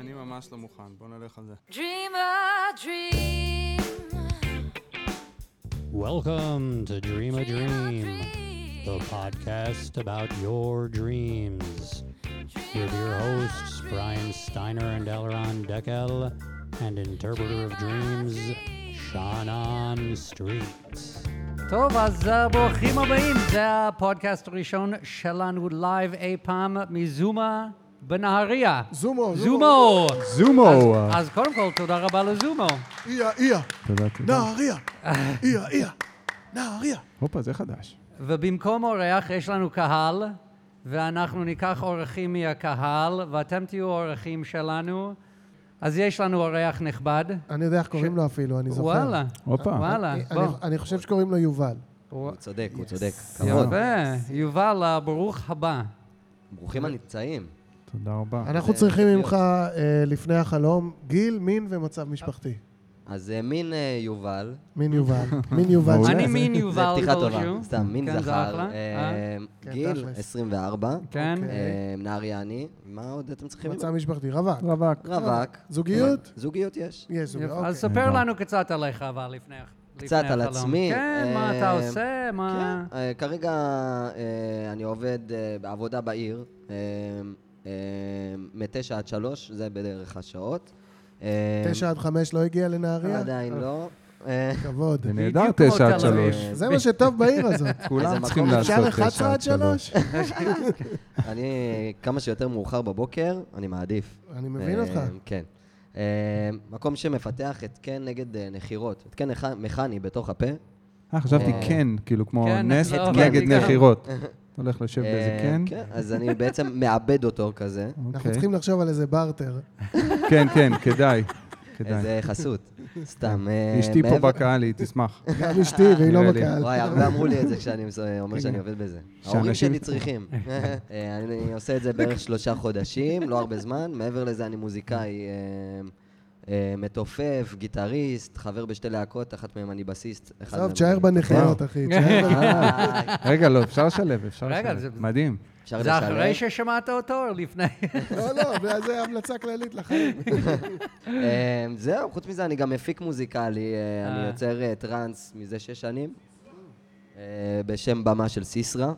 אני ממש לא מוכן, בוא נלך על זה. Dream a dream. Welcome to Dream a Dream, dream. the podcast about your dreams. With your hosts, Brian Steiner and Elron Deckel, and interpreter of dreams, Shannon Streets. טוב, אז אה, ברוכים הבאים, זה הפודקאסט הראשון שלנו לייב אי פעם מזומה בנהריה. זומו, זומו! זומו. אז- אז קודם כל, תודה רבה לזומו. איה, איה, תודה, נהריה, איה, איה, נהריה. הופה, זה חדש. ובמקום אורח יש לנו קהל, ואנחנו ניקח אורחים מהקהל, ואתם תהיו אורחים שלנו. אז יש לנו אורח נכבד. אני יודע איך קוראים לו אפילו, אני זוכר. וואלה. הופה. וואלה, אני- בוא. אני חושב שקוראים לו יובל. הוא- הוא צודק, הוא צודק. כבוד. יפה. יובל, אה, ברוך הבא. ברוכים הנמצאים. תודה רבה. אנחנו זה- צריכים זה- ממך אה, לפני החלום גיל, מין ומצב משפחתי. אז אה, מין אה, יובל, מין יובל, מין יובל. מעולה. אני זה- מין זה יובל פתיחה טובה, כלשהו. סתם, מין כן, זה זכר. אחלה. אה? אה, כן, גיל תכלס. 24, כן. אוקיי. אה, נהריה אני, מה עוד אתם צריכים? מצב משפחתי, רווק. רווק. רווק. זוגיות? זוגיות יש. יש זוגיות, יפה, אוקיי. אז ספר לנו קצת עליך, אבל לפני לפני קצת על החלום. עצמי, כן, מה אתה אה, עושה, מה... כן, אה, כרגע אה, אני עובד אה, בעבודה בעיר, אה, אה, מתשע עד שלוש, זה בערך השעות. אה, תשע עד חמש לא הגיע לנהריה? עדיין לא. אה, כבוד. זה נהדר, בדיוק כמו תשע עד תל אביב. שלוש. זה מה שטוב בעיר הזאת. איזה כולם צריכים מקום לעשות אפשר תשע עד שלוש. 11 עד שלוש? אני כמה שיותר מאוחר בבוקר, אני מעדיף. אני מבין אותך. אה, כן. אה, מקום שמפתח התקן נגד אה, נחירות, התקן מכ- מכני בתוך הפה. אה, חשבתי אה, כן, כאילו כמו כן, נס לא, נגד הבנתי גם. נחירות. אתה הולך לשב באיזה אה, כן? אז אני בעצם מעבד אותו כזה. אנחנו אוקיי. צריכים לחשוב על איזה בארטר. כן, כן, כדאי. כדאי. איזה חסות. סתם. אה, אשתי פה מעבר- בקהל, היא תשמח. גם אשתי, והיא לא נראה לי. בקהל. כן. וואי, הרבה אמרו לי את זה כשאני מס- אומר שאני עובד בזה. ההורים שאנשים- שלי צריכים. אה, אני עושה את זה בערך שלושה חודשים, לא הרבה זמן. מעבר לזה, אני מוזיקאי אה, אה, מתופף, גיטריסט, חבר בשתי להקות, אחת מהן אני בסיסט. אחד עזוב, מהם תשאר אני- בנחירות, אחי. תשאר בנחירות. אה, רגע, לא, אפשר לשלב, אפשר רגע, לשלב. זה- מדהים. אפשר לשלב. זה אחרי ששמעת אותו או לפני? לא, לא, זו המלצה כללית לחיים. אה, זהו, חוץ מזה, אני גם מפיק מוזיקלי, אה, אה. אני יוצר אה, טראנס מזה שש שנים, אה, בשם במה של סיסרא.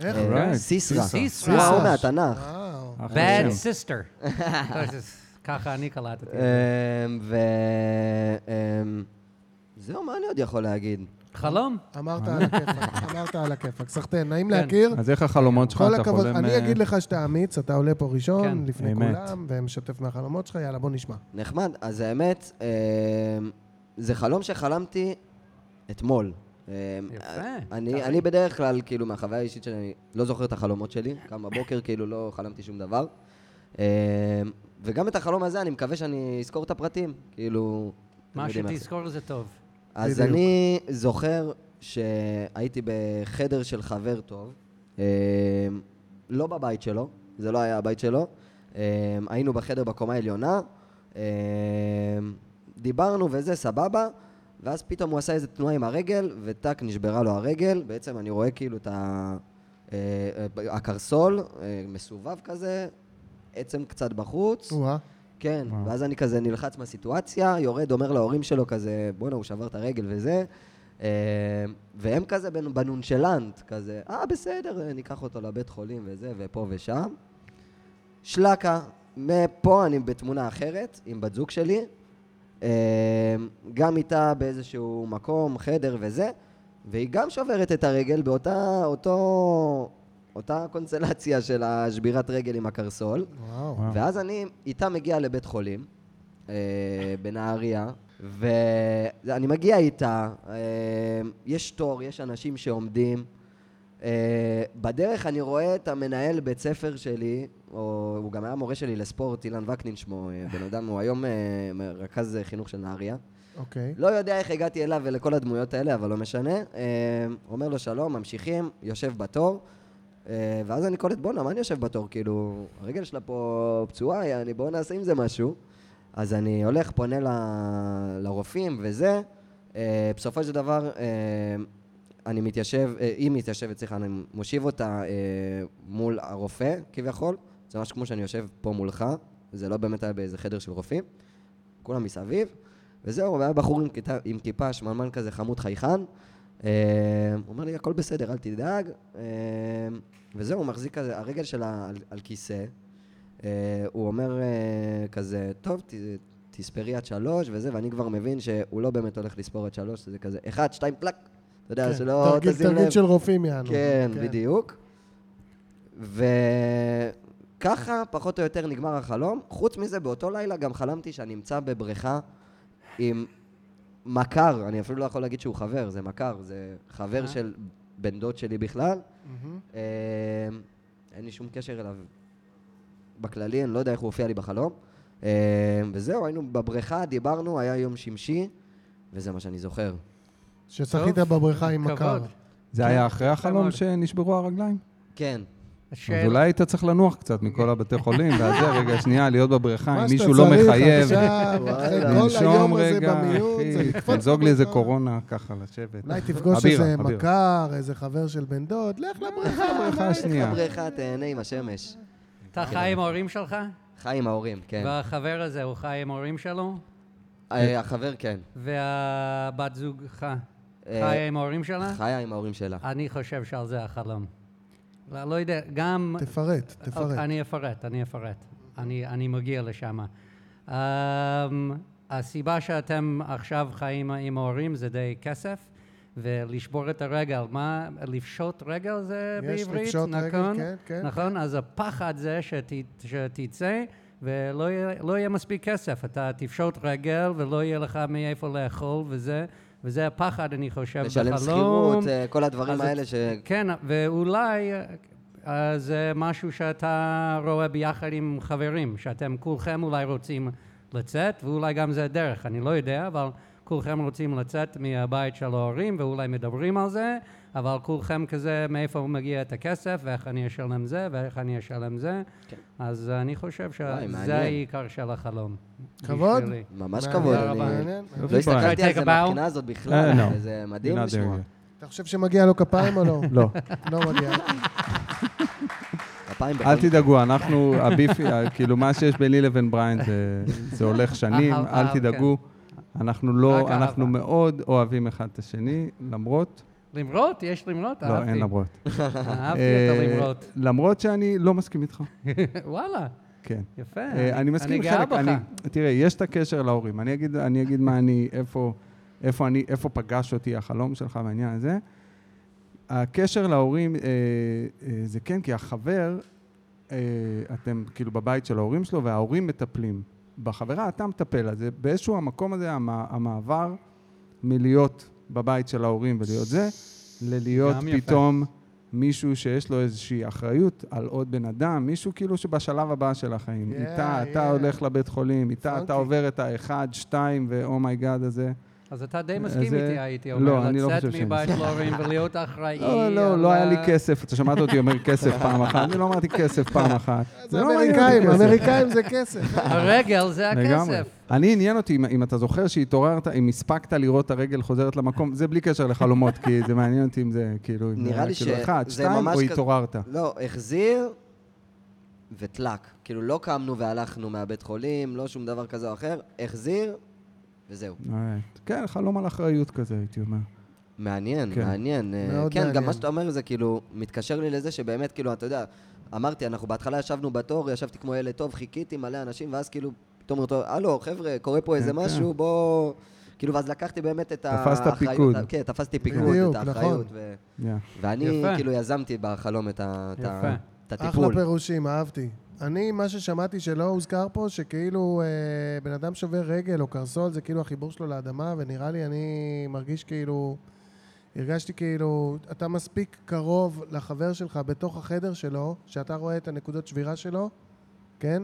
איך? אה, אורייט. סיסרא. סיסרא. וואו, מהתנ"ך. וואו. אחלה כן. Bad שם. sister. טוב, זה- ככה אני קלטתי. אה, ו... אה, זהו, מה אני עוד יכול להגיד? חלום? אה. אמרת על הכיפאק, אמרת על הכיפאק. סחטיין, כן, נעים כן. להכיר. אז איך החלומות שלך? כל אתה הכבוד. חולם... אני אה, אגיד לך שאתה אמיץ, אתה עולה פה ראשון, כן. לפני אמת. כולם, ומשתף מהחלומות שלך, יאללה, בוא נשמע. נחמד. אז האמת, אה, זה חלום שחלמתי אתמול. אה, יפה. אני, אני בדרך כלל, כאילו, מהחוויה האישית שלי, אני לא זוכר את החלומות שלי. קם בבוקר, כאילו, לא חלמתי שום דבר. אה, וגם את החלום הזה, אני מקווה שאני אזכור את הפרטים. כאילו... אתם מה יודעים איך זה. שתזכור זה טוב. אז בדיוק. אני זוכר שהייתי בחדר של חבר טוב, אה, לא בבית שלו, זה לא היה הבית שלו, אה, היינו בחדר בקומה העליונה, אה, דיברנו וזה, סבבה, ואז פתאום הוא עשה איזה תנועה עם הרגל, וטאק, נשברה לו הרגל, בעצם אני רואה כאילו את ה... אה, אה, הקרסול, אה, מסובב כזה, עצם קצת בחוץ. וואה. כן, ואז אני כזה נלחץ מהסיטואציה, יורד, אומר להורים שלו כזה, בואנה, הוא שבר את הרגל וזה. אה, והם כזה בנ- בנונשלנט, כזה, אה, בסדר, אה, ניקח אותו לבית חולים וזה, ופה ושם. שלקה, מפה אני בתמונה אחרת, עם בת זוג שלי. אה, גם איתה באיזשהו מקום, חדר וזה, והיא גם שוברת את הרגל באותה, אותו, אותה קונסלציה של השבירת רגל עם הקרסול. וואו. וואו. ואז אני איתה מגיע לבית חולים, אה, בנהריה, ואני מגיע איתה, אה, יש תור, יש אנשים שעומדים. אה, בדרך אני רואה את המנהל בית ספר שלי, או הוא גם היה מורה שלי לספורט, אילן וקנין שמו, אה, בן אדם, הוא היום אה, רכז אה, חינוך של נהריה. אוקיי. לא יודע איך הגעתי אליו ולכל הדמויות האלה, אבל לא משנה. אה, אומר לו שלום, ממשיכים, יושב בתור. אה, ואז אני קולט, בואנה, מה אני יושב בתור? כאילו, הרגל שלה פה פצועה, יעני, בואו נעשה עם זה משהו. אז אני הולך, פונה ל... לרופאים וזה. אה, בסופו של דבר, אה, אני מתיישב, אה, היא מתיישבת, סליחה, אני מושיב אותה אה, מול הרופא, כביכול. זה ממש כמו שאני יושב פה מולך. זה לא באמת היה באיזה חדר של רופאים, כולם מסביב, וזהו, והיה בחור עם, כיתה, עם כיפה, שמנמן כזה חמוד חייכן, אה, הוא אומר לי, הכל בסדר, אל תדאג, אה, וזהו, הוא מחזיק כזה, הרגל שלה על, על כיסא, אה, הוא אומר אה, כזה, טוב, ת, תספרי עד שלוש וזה, ואני כבר מבין שהוא לא באמת הולך לספור עד שלוש, זה כזה, אחד, שתיים, פלאק, אתה יודע, כן, שלא תרגיל- תשים לב. תרגיל של רופאים יענו. כן, בדיוק. וככה פחות או יותר נגמר החלום. חוץ מזה, באותו לילה גם חלמתי שאני נמצא בבריכה עם מכר, אני אפילו לא יכול להגיד שהוא חבר, זה מכר, זה חבר אה. Mm-hmm. של בן דוד שלי בכלל. מהמם. אה, אין לי שום קשר אליו בכללי, אני לא יודע איך הוא הופיע לי בחלום. אה, וזהו, היינו בבריכה, דיברנו, היה יום שמשי, וזה מה שאני זוכר. ששחית טוב, בבריכה עם מכר. כבוד. כן, זה היה אחרי החלום מאוד. שנשברו הרגליים? כן. אז השאל- אולי היית צריך לנוח קצת מכל הבתי חולים, ואז זה, רגע, שנייה, להיות בבריכה, מה אם שאתה מישהו לא צריך מחייב, עכשיו, אחרי כל היום לנשום הזה רגע, במיון, זה אחי, לקפוץ תזוג לי איזה בבריכה. קורונה ככה, לשבת. אולי תפגוש הבירה, איזה הבירה. מכר, איזה חבר של בן דוד, לך לבריכה. בריכה שנייה. בבריכה, תהנה עם השמש. כן. אתה חי עם ההורים שלך? חי עם ההורים, כן. והחבר הזה, הוא חי עם ההורים שלו? אה, החבר כן. והבת זוגך אה, חיה עם ההורים שלה? חיה עם ההורים שלה. אני חושב שעל זה החלום. לא לא יודע, גם... תפרט, תפרט. אוקיי, אני אפרט, אני אפרט. אני, אני מגיע לשם. Um, הסיבה שאתם עכשיו חיים עם ההורים זה די כסף, ולשבור את הרגל, מה, לפשוט רגל זה יש בעברית? לפשוט רגל, נכון? כן, כן. נכון? אז הפחד זה שת, שתצא ולא יהיה, לא יהיה מספיק כסף. אתה תפשוט רגל ולא יהיה לך מאיפה לאכול וזה, וזה הפחד, אני חושב, בחלום. לשלם שכירות, אה, כל הדברים אז האלה את- ש... כן, ואולי אה, זה משהו שאתה רואה ביחד עם חברים, שאתם כולכם אולי רוצים לצאת, ואולי גם זה דרך, אני לא יודע, אבל כולכם רוצים לצאת מהבית של ההורים, ואולי מדברים על זה, אבל כולכם כזה, מאיפה מגיע את הכסף, ואיך אני אשלם זה, ואיך אני אשלם זה. כן. אז אני חושב וואי, שזה מעניין. העיקר של החלום. כבוד. בשבילי. ממש מעניין, כבוד. תודה אני- רבה. מעניין. לא הסתכלתי על Take זה a bow. מהבחינה הזאת אה, בכלל, no. זה You're מדהים not לשמוע. doing אתה חושב שמגיע לו כפיים או לא? it. לא. לא מגיע. כפיים אל בכל... תדאגו, אנחנו, הביפי, כאילו מה שיש ביני לבין בריין זה- זה הולך שנים, אהבה, אל תדאגו. אנחנו לא, כן. רק אהבה. אנחנו מאוד אוהבים אחד את השני, למרות, למרות, יש למרות, לא, אין אהבתי. למרות. אהבתי את אה, הלמרות. למרות שאני לא מסכים איתך, וואלה, כן. יפה. אה, אני מסכים עם גאה חלק, בך. אני, תראה, יש את הקשר להורים. אני אגיד, אני אגיד מה אני, איפה, איפה אני, איפה פגש אותי החלום שלך בעניין הזה. הקשר להורים אה, אה, זה כן, כי החבר, אה, אתם כאילו בבית של ההורים שלו, וההורים מטפלים. בחברה אתה מטפל, אז זה באיזשהו המקום הזה, המע, המעבר מלהיות בבית של ההורים ולהיות זה, ללהיות גם יפה. פתאום מישהו שיש לו איזושהי אחריות על עוד בן אדם, מישהו כאילו שבשלב הבא של החיים. Yeah, איתה yeah. אתה הולך לבית חולים, איתה פאנקי. אתה עובר את האחד, שתיים, ואומייגאד הזה. אז אתה די מסכים אה, זה- איתי, הייתי לא, אומר, אני לא לצאת חושב שאני מבית להורים ולהיות אחראי. לא, לא, על לא ה- היה לי כסף. אתה שמעת אותי אומר כסף פעם אחת? אני לא אמרתי כסף פעם אחת. זה לא מעניין אותי אמריקאים, כסף. אמריקאים זה כסף. הרגל זה לגמרי. הכסף. אני עניין אותי, אם, אם אתה זוכר שהתעוררת, אם הספקת לראות את הרגל חוזרת למקום, זה בלי קשר לחלומות, כי זה מעניין אותי אם זה כאילו... אם זה נראה היה לי כאילו ש- אחד, זה שתיים, ממש או כזה- התעוררת. לא, החזיר וטלק. כאילו, לא קמנו והלכנו מהבית חולים, לא שום דבר כזה או אחר, החזיר, וזהו. אה, כן, חלום על אחריות כזה, הייתי אומר. מעניין, כן. מעניין. אה, מאוד כן, גם מעניין. מה שאתה אומר זה כאילו, מתקשר לי לזה שבאמת, כאילו, אתה יודע, אמרתי, אנחנו בהתחלה ישבנו בתור, ישבתי כמו ילד טוב, חיכיתי מלא אנשים, ואז כאילו, פתאום אותו, הלו, חבר'ה, קורה פה איזה כן. משהו, בוא... כאילו, ואז לקחתי באמת את תפסת האחריות- פיקוד. כן, תפסתי פיקוד, בדיוק, את האחריות. נכון. ו- Yeah. ואני יפה. כאילו יזמתי בחלום את ה- את ה- יפה. את אחלה הטיפול. פירושים, אהבתי. אני, מה ששמעתי שלא הוזכר פה, שכאילו אה, בן אדם שובר רגל או קרסול, זה כאילו החיבור שלו לאדמה, ונראה לי, אני מרגיש כאילו... הרגשתי כאילו, אתה מספיק קרוב לחבר שלך בתוך החדר שלו, שאתה רואה את הנקודות שבירה שלו, כן?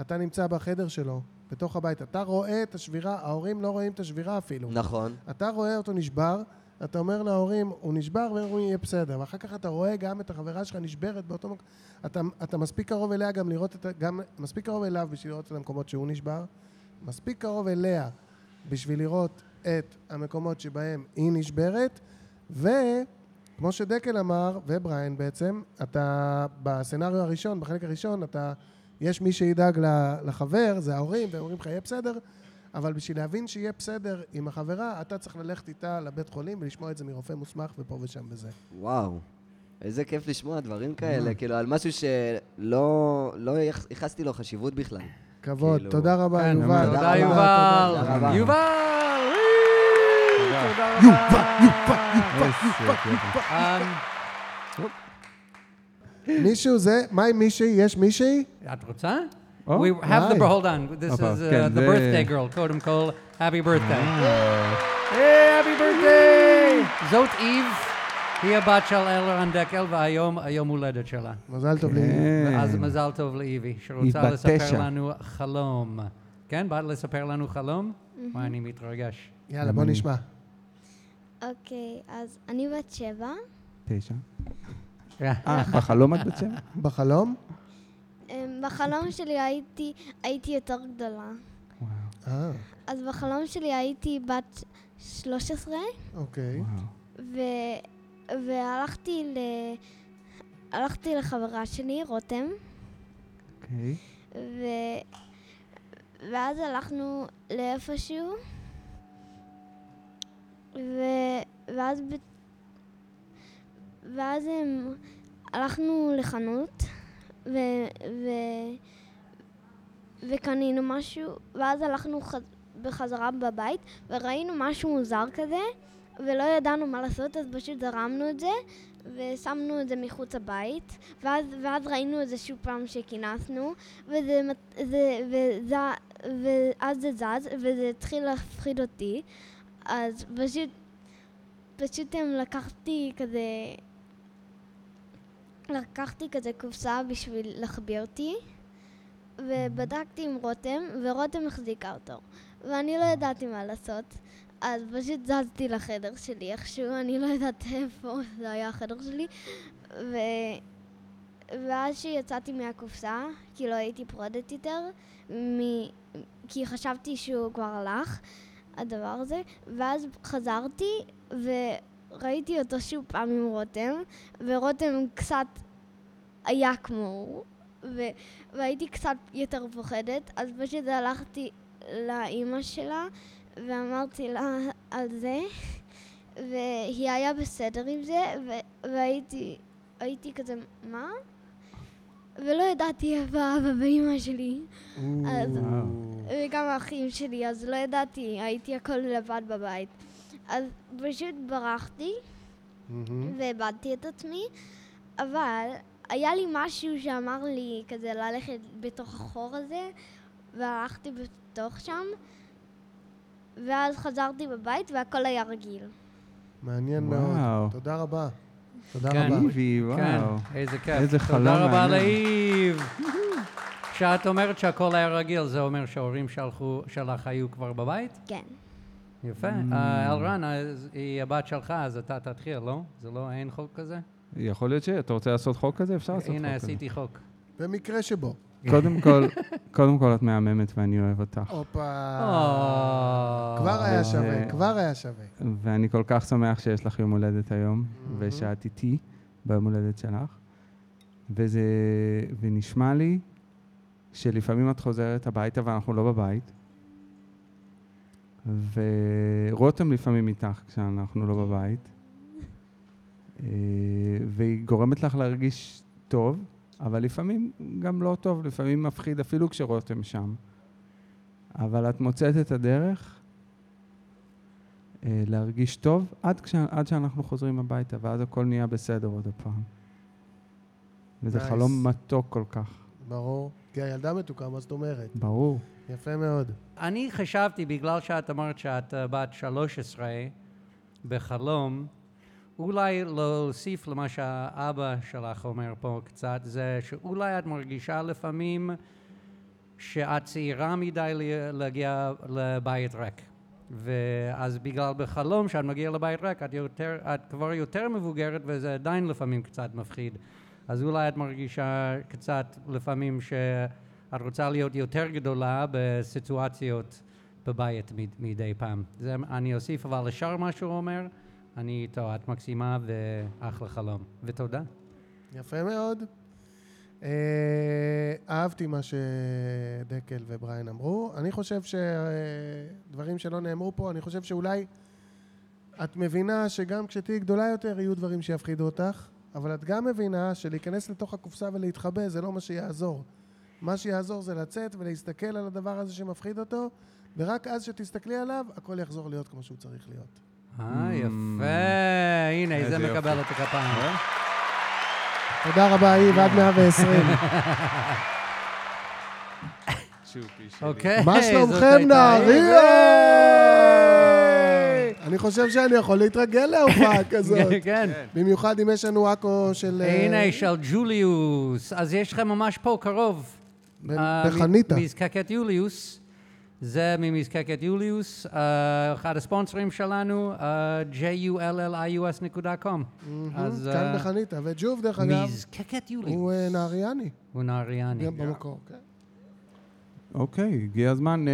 אתה נמצא בחדר שלו, בתוך הבית. אתה רואה את השבירה, ההורים לא רואים את השבירה אפילו. נכון. אתה רואה אותו נשבר, אתה אומר להורים, הוא נשבר, והוא יהיה בסדר. ואחר כך אתה רואה גם את החברה שלך נשברת באותו מקום. אתה, אתה מספיק קרוב אליה גם לראות את ה... גם מספיק קרוב אליו בשביל לראות את המקומות שהוא נשבר, מספיק קרוב אליה בשביל לראות את המקומות שבהם היא נשברת, וכמו שדקל אמר, ובריין בעצם, אתה בסצנריו הראשון, בחלק הראשון, אתה יש מי שידאג ל- לחבר, זה ההורים, והם אומרים לך, יהיה בסדר, אבל בשביל להבין שיהיה בסדר עם החברה, אתה צריך ללכת איתה לבית חולים ולשמוע את זה מרופא מוסמך ופה ושם וזה. וואו, איזה כיף לשמוע דברים כאלה, כאילו, על משהו שלא לא ייח- ייחסתי לו חשיבות בכלל. כבוד, כאילו- תודה רבה, כן, יובל. תודה תודה רבה, יובל. תודה רבה. יובל! תודה. תודה רבה. איזה כיף. אמ, מישהו זה, מה עם מישהי? יש מישהי? אה, את רוצה? או, We have the, די. hold on, this הופה, is uh, כן, the זה- birthday girl, קודם כל, happy birthday. Ah. היי, happy birthday! זאת איב, היא הבת של אלרן דקל, והיום היום הולדת שלה. מזל טוב לי. כן. אז מזל טוב לאיבי, שרוצה בת לספר תשע. לנו חלום. כן, באת לספר לנו חלום? וואי, אני מתרגש. יאללה, בוא נשמע. אה, אוקיי, אז אני בת שבע. תשע. אה, בחלום את בת שבע? בחלום? אמ, בחלום שלי הייתי, הייתי יותר גדולה. אה, אז בחלום שלי הייתי בת 13, אוקיי. וואו. ו... והלכתי ל... הלכתי לחברה שלי, רותם, אוקיי. ו... ואז הלכנו לאיפשהו, ו... ואז, ב... ואז הם... הלכנו לחנות, ו... ו... וקנינו משהו, ואז הלכנו ח... בחזרה בבית, וראינו משהו מוזר כזה, ולא ידענו מה לעשות, אז פשוט זרמנו את זה, ושמנו את זה מחוץ לבית, ואז, ואז ראינו את זה שוב פעם שכינסנו, וזה, מת- זה, וזה, ואז זה זז, וזה התחיל להפחיד אותי, אז פשוט, פשוט הם לקחתי כזה, לקחתי כזה קופסה בשביל להחביא אותי, ובדקתי עם רותם, ורותם החזיקה אותו, ואני לא ידעתי מה לעשות. אז פשוט זזתי לחדר שלי איכשהו, אני לא יודעת איפה זה היה החדר שלי, ו... ואז שיצאתי מהקופסה, כי לא הייתי פרודט יותר, מ... כי חשבתי שהוא כבר הלך, הדבר הזה, ואז חזרתי וראיתי אותו שוב פעם עם רותם, ורותם קצת היה כמוהו, ו... והייתי קצת יותר פוחדת, אז פשוט הלכתי לאימא שלה ואמרתי לה על זה, והיא היה בסדר עם זה, ו- והייתי הייתי כזה, מה? ולא ידעתי איפה אבא ואימא שלי, אז, וגם האחים שלי, אז לא ידעתי, הייתי הכל לבד בבית. אז פשוט ברחתי, מהמם. ואיבדתי את עצמי, אבל היה לי משהו שאמר לי כזה ללכת בתוך החור הזה, והלכתי בתוך שם, ואז חזרתי בבית והכל היה רגיל. מעניין וואו. מאוד. תודה רבה. תודה כן. רבה. איבי, כן, וואו. איזה כיף. איזה חלום תודה רבה מעניין. לאיב. כשאת אומרת שהכל היה רגיל, זה אומר שההורים שלחו- שלך היו כבר בבית? כן. יפה. Mm. אה, אלרן, אז היא הבת שלך, אז אתה תתחיל, לא? זה לא, אין חוק כזה? יכול להיות ש... אתה רוצה לעשות חוק כזה? אפשר לעשות לא, חוק כזה. הנה, עשיתי חוק. במקרה שבו. קודם כל, קודם כל את מהממת ואני אוהב אותך. הופה. אה, כבר היה שווה, אה. כבר היה שווה. Mm-hmm. ואני כל כך שמח שיש לך יום הולדת היום, ושאת איתי ביום הולדת שלך. וזה... ונשמע לי שלפעמים את חוזרת הביתה ואנחנו לא בבית. ורותם לפעמים איתך כשאנחנו לא בבית. אה, והיא גורמת לך להרגיש טוב, אבל לפעמים גם לא טוב, לפעמים מפחיד אפילו כשרותם שם. אבל את מוצאת את הדרך אה, להרגיש טוב עד, כש, עד שאנחנו חוזרים הביתה, ואז הכל נהיה בסדר עוד הפעם. וזה Nice. חלום מתוק כל כך, ברור. כי הילדה מתוקה, מה זאת אומרת? ברור. יפה מאוד. אני חשבתי, בגלל שאת אמרת שאת אה, בת 13 בחלום, אולי להוסיף למה שהאבא שלך אומר פה קצת, זה שאולי את מרגישה לפעמים שאת צעירה מדי ל- להגיע לבית ריק. ואז בגלל בחלום שאת מגיעה לבית ריק, את, יותר, את כבר יותר מבוגרת וזה עדיין לפעמים קצת מפחיד. אז אולי את מרגישה קצת לפעמים שאת רוצה להיות יותר גדולה בסיטואציות בבית מ- מדי פעם. זה אני אוסיף, אבל לשאר מה שהוא אומר, אני Mm. איתו, את מקסימה ואחלה חלום. ותודה. יפה מאוד. אה, אהבתי מה שדקל ובריין אמרו. אני חושב שדברים שלא נאמרו פה, אני חושב שאולי את מבינה שגם כשתהיי גדולה יותר יהיו דברים שיפחידו אותך, אבל את גם מבינה שלהיכנס לתוך הקופסה ולהתחבא זה לא מה שיעזור. מה שיעזור זה לצאת ולהסתכל על הדבר הזה שמפחיד אותו, ורק אז שתסתכלי עליו, הכל יחזור להיות כמו שהוא צריך להיות. אה, יפה. הנה, איזה זה יופי. אה? מקבל אותי כפיים. תודה רבה, איב, עד 120. צ'ופי שלי. אוקיי. מה זאת שלומכם, הייתה- נהריה? אני חושב שאני יכול להתרגל להופעה כזאת. כן. במיוחד אם יש לנו עכו של... אה, הנה, של ג'וליוס. אז יש לכם ממש פה קרוב. ב- אה, בחניתה. מזקקת יוליוס. זה ממזקקת יוליוס, אה, אחד הספונסרים שלנו, אה, jullius.com. אז מהם, כאן אה, בחניתה. וג'וב, דרך אגב, מזקקת הוא יוליוס. אה, נהריאני. הוא נהריאני. גם במקור. כן. אוקיי, הגיע הזמן, אה,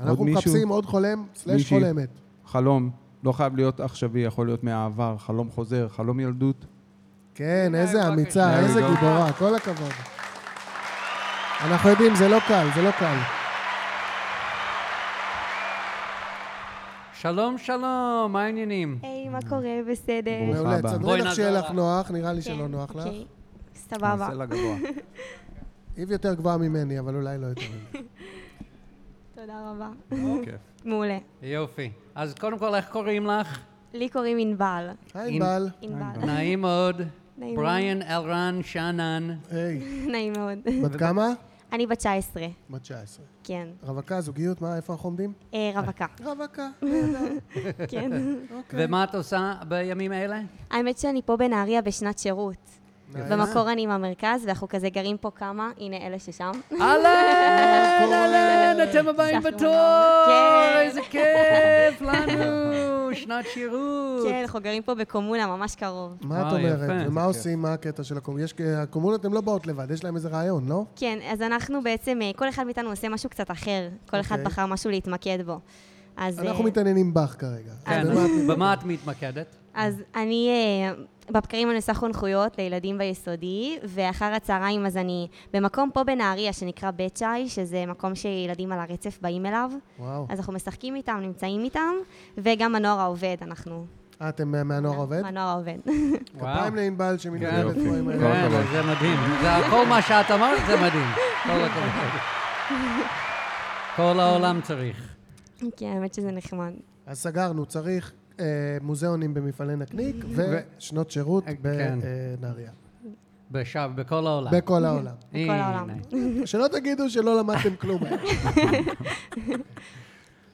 אנחנו מישהו? מחפשים עוד חולם, סלש מישהי? חולמת. חלום. לא חייב להיות עכשווי, יכול להיות מהעבר, חלום חוזר, חלום ילדות. כן, אה, איזה אמיצה, בבקשה. איזה אה, גיבורה, כן. כל הכבוד. אנחנו יודעים, זה לא קל, זה לא קל. שלום, שלום, מה העניינים? היי, מה קורה? בסדר. ברוכה מעולה, הבאה. תסדרי בואי לך שיהיה נעזור לך לך. נוח, נראה לי שלא כן, נוח לך. אוקיי. סבבה. נעשה לה גבוה. איב יותר גבוהה ממני, אבל אולי לא יותר ממני. תודה רבה. כיף. מעולה. יופי. אז קודם כל, איך קוראים לך? לי קוראים ענבל. היי, ענבל. ענבל. נעים מאוד. נעים בריאן אלרן שאנן. היי, נעים מאוד. בת כמה? אני בת 19, בת 19. כן. רווקה, זוגיות, מה, איפה אנחנו עומדים? אה, רווקה, רווקה. כן. אוקיי. ומה את עושה בימים אלה? האמת שאני פה בנהריה בשנת שירות. אה. במקור אני מהמרכז, ואנחנו כזה גרים פה כמה, הנה אלה ששם. אהלן, אהלן, אתם הבאים שלום. בתור, כן. איזה כיף לנו, שנת שירות. כן, אנחנו גרים פה בקומונה, ממש קרוב. מה את וואי, אומרת? אה, יפה. ומה עושים, מה הקטע של הקומונות? הקומונות הן לא באות לבד, יש להם איזה רעיון, לא? כן, אז אנחנו בעצם, אה, כל אחד מאיתנו עושה משהו קצת אחר. כל אחד אוקיי. בחר משהו להתמקד בו. אז... אה, אנחנו מתעניינים בך כרגע. כן, אז אז במה את- במה את מתמקדת? אז אני, אה, בבקרים אני עושה חונכויות לילדים ביסודי, ואחר הצהריים אז אני במקום פה בנהריה שנקרא בית שי, שזה מקום שילדים על הרצף באים אליו. וואו. אז אנחנו משחקים איתם, נמצאים איתם, וגם הנוער העובד אנחנו. אה, אתם מה- מהנוער עובד? הנוער העובד. וואו. כפיים לענבל שמתנהלת יופי. פה עם כל ה... כן, הכבוד. אז זה מדהים. זה כל מה שאת אמרת זה מדהים. כל הכבוד. אה, כל העולם צריך. כן, האמת שזה נחמד. אז סגרנו, צריך אה, מוזיאונים במפעלי נקניק ושנות שירות אה, כן. בנהריה. בשב, בכל העולם. בכל העולם. בכל העולם. הנה. שלא תגידו שלא למדתם כלום.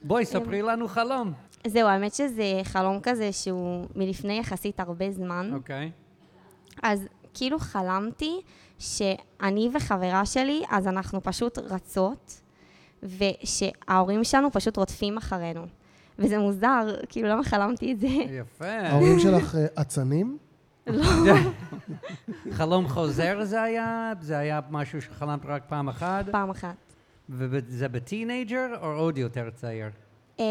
בואי, ספרי לנו חלום. זהו, האמת שזה חלום כזה שהוא מלפני יחסית הרבה זמן. אוקיי. אז כאילו חלמתי שאני וחברה שלי, אז אנחנו פשוט רצות, ושההורים שלנו פשוט רודפים אחרינו. וזה מוזר, כאילו למה חלמתי את זה? יפה. ההורים שלך אה, אצנים? לא. חלום חוזר זה היה? זה היה משהו שחלמת רק פעם אחת? פעם אחת. וזה בטינג'ר או עוד יותר צעיר? אמ,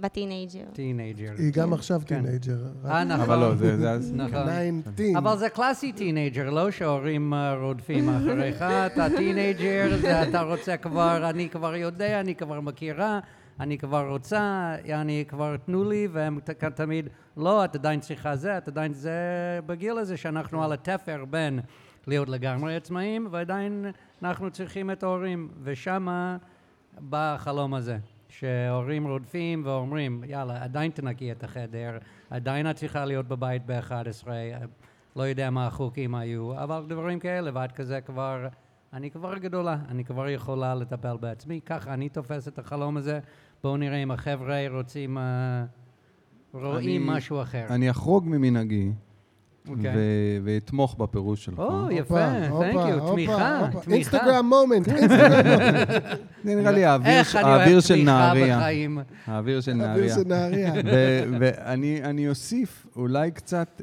בטינג'ר. טינג'ר. היא גם עכשיו טינג'ר. רק כן. אה, נכון. אבל לא, זה... זה אז- כן. נכון. 19. אבל זה קלאסי טינג'ר, לא שההורים אה, רודפים אחריך, אתה טינג'ר, זה אתה רוצה כבר, אני כבר יודע, אני כבר מכירה, אני כבר רוצה, אני כבר תנו לי, והם ת- כ- תמיד, לא, את עדיין צריכה זה, את עדיין זה בגיל הזה שאנחנו על התפר בין להיות לגמרי עצמאים, ועדיין אנחנו צריכים את ההורים, ושמה בא החלום הזה. שההורים רודפים ואומרים, יאללה, עדיין תנקי את החדר, עדיין את צריכה להיות בבית ב-11, לא יודע מה החוקים היו, אבל דברים כאלה, ואת כזה כבר, אני כבר גדולה, אני כבר יכולה לטפל בעצמי, ככה אני תופס את החלום הזה, בואו נראה אם החבר'ה רוצים, אה, רואים אני- משהו אחר. אני אחרוג ממנהגי, אוקיי. ו- ואתמוך בפירוש שלך. או, יפה, הופה, thank you, הופה, תמיכה, הופה. תמיכה. אינסטגרם מומנט, אינסטגרם זה נראה לי האוויר איך ש- אני האוויר אוהב של תמיכה נהריה. בחיים. האוויר של נהריה. של נהריה. ו- ואני אני אוסיף אולי קצת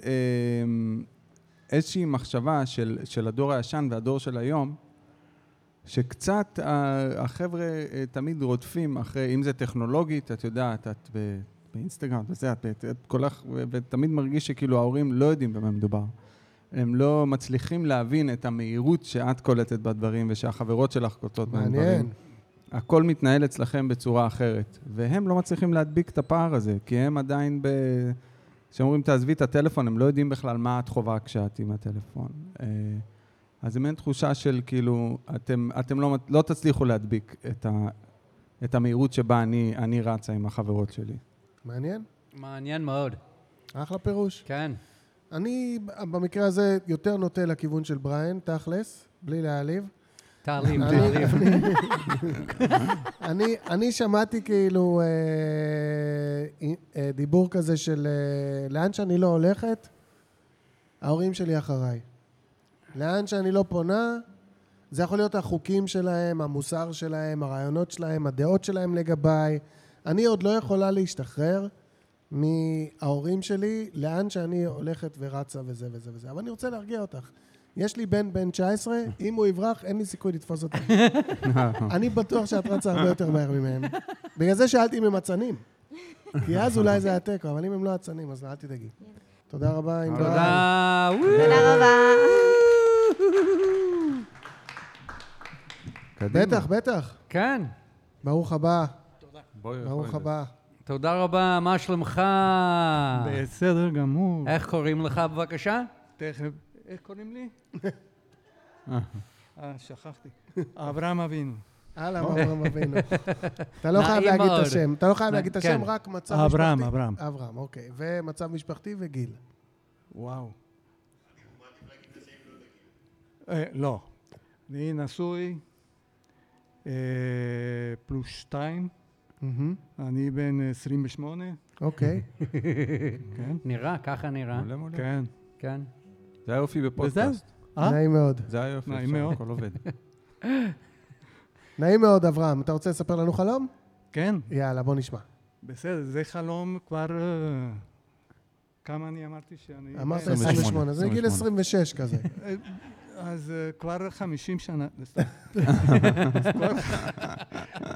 אמ, איזושהי מחשבה של, של הדור הישן והדור של היום, שקצת ה- החבר'ה אה, תמיד רודפים אחרי, אם זה טכנולוגית, את יודעת, את ב- באינסטגרם וזה, את, את, את כל כך, ו- ותמיד מרגיש שכאילו ההורים לא יודעים במה מדובר. הם לא מצליחים להבין את המהירות שאת קולטת בדברים ושהחברות שלך קולטות בדברים. מעניין. הכל מתנהל אצלכם בצורה אחרת, והם לא מצליחים להדביק את הפער הזה, כי הם עדיין ב... כשאומרים תעזבי את הטלפון, הם לא יודעים בכלל מה את חווה כשאת עם הטלפון. אה, אז זה מעין תחושה של כאילו, אתם, אתם לא, לא תצליחו להדביק את, ה, את המהירות שבה אני, אני רצה עם החברות שלי. מעניין. מעניין מאוד. אחלה פירוש. כן. אני במקרה הזה יותר נוטה לכיוון של בריין, תכלס, בלי להעליב. תעלים, אני- תעלים. אני, אני שמעתי כאילו אה, אה, דיבור כזה של אה, לאן שאני לא הולכת, ההורים שלי אחריי. לאן שאני לא פונה, זה יכול להיות החוקים שלהם, המוסר שלהם, הרעיונות שלהם, הדעות שלהם לגביי. אני עוד לא יכולה להשתחרר מההורים שלי, לאן שאני הולכת ורצה וזה וזה וזה. אבל אני רוצה להרגיע אותך. יש לי בן בן 19, אם הוא יברח, אין לי סיכוי לתפוס אותו. אני בטוח שאת רצה הרבה יותר מהר ממהם. בגלל זה שאלתי אם הם אצנים. כי אז אולי זה היה תיקו, אבל אם הם לא אצנים, אז אל תדאגי. תודה רבה, ענבר. תודה. וואו. תודה רבה. קדימה. בטח, בטח. כן. ברוך הבא, בואי, ברוך יכולת. הבא. תודה רבה, מה שלומך? בסדר גמור. איך קוראים לך בבקשה? תכף. איך קוראים לי? אה, שכחתי. אברהם אבינו. אהלן, אוקיי. אברהם אבינו. אתה לא חייב נעים להגיד את מאוד. השם, אתה לא חייב להגיד את כן. השם, רק מצב משפחתי. אברהם, אברהם. אברהם, אוקיי. ומצב משפחתי וגיל. וואו. אה, לא. אני נשוי אה, פלוס שתיים. מהמם. Mm-hmm. אני בן 28. אוקיי. כן. נראה, ככה נראה. מעולה מעולה. כן. כן. זה היופי בפודקאסט. אה? נעים מאוד. זה היופי, נעים עכשיו מאוד. לא הכל עובד. נעים מאוד, אברהם. אתה רוצה לספר לנו חלום? כן. יאללה, בוא נשמע. בסדר, זה חלום כבר... אה, כמה אני אמרתי שאני... כן, אה, אמרת 28. 28, זה גיל 26 כזה. אז אה, כבר 50 שנה, סתם. אז כבר-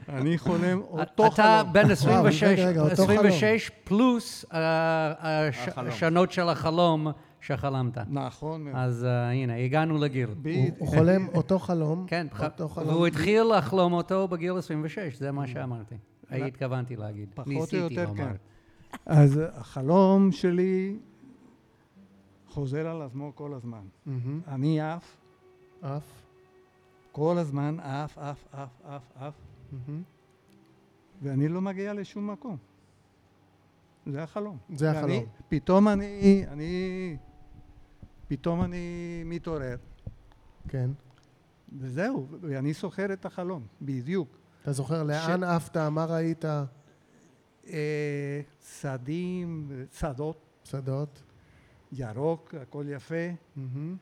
אני חולם אותו אתה חלום. בן וואו, 26, אה, רגע, רגע, אותו חלום. 26 פלוס אה, הש- השנות של החלום שחלמת. נכון. מאוד. אז אה, הנה, הגענו לגיל. בי- הוא חולם אותו חלום. כן, אותו ח- חלום. והוא התחיל לחלום אותו בגיל 26, זה מה שאמרתי. התכוונתי להגיד. Mm. פחות או ניסיתי יותר, לומר. כן. אז החלום שלי חוזר על עצמו כל הזמן. מהמם. אני עף, עף. כל הזמן עף, עף, עף, עף, עף, מהמם. ואני לא מגיע לשום מקום. זה החלום. זה ואני- החלום. פתאום אני, אני, פתאום אני מתעורר, כן. וזהו, ואני זוכר את החלום, בדיוק. אתה זוכר לאן עפת, מה ראית, אה, שדים, שדות, שדות? ירוק, הכל יפה. מהמם.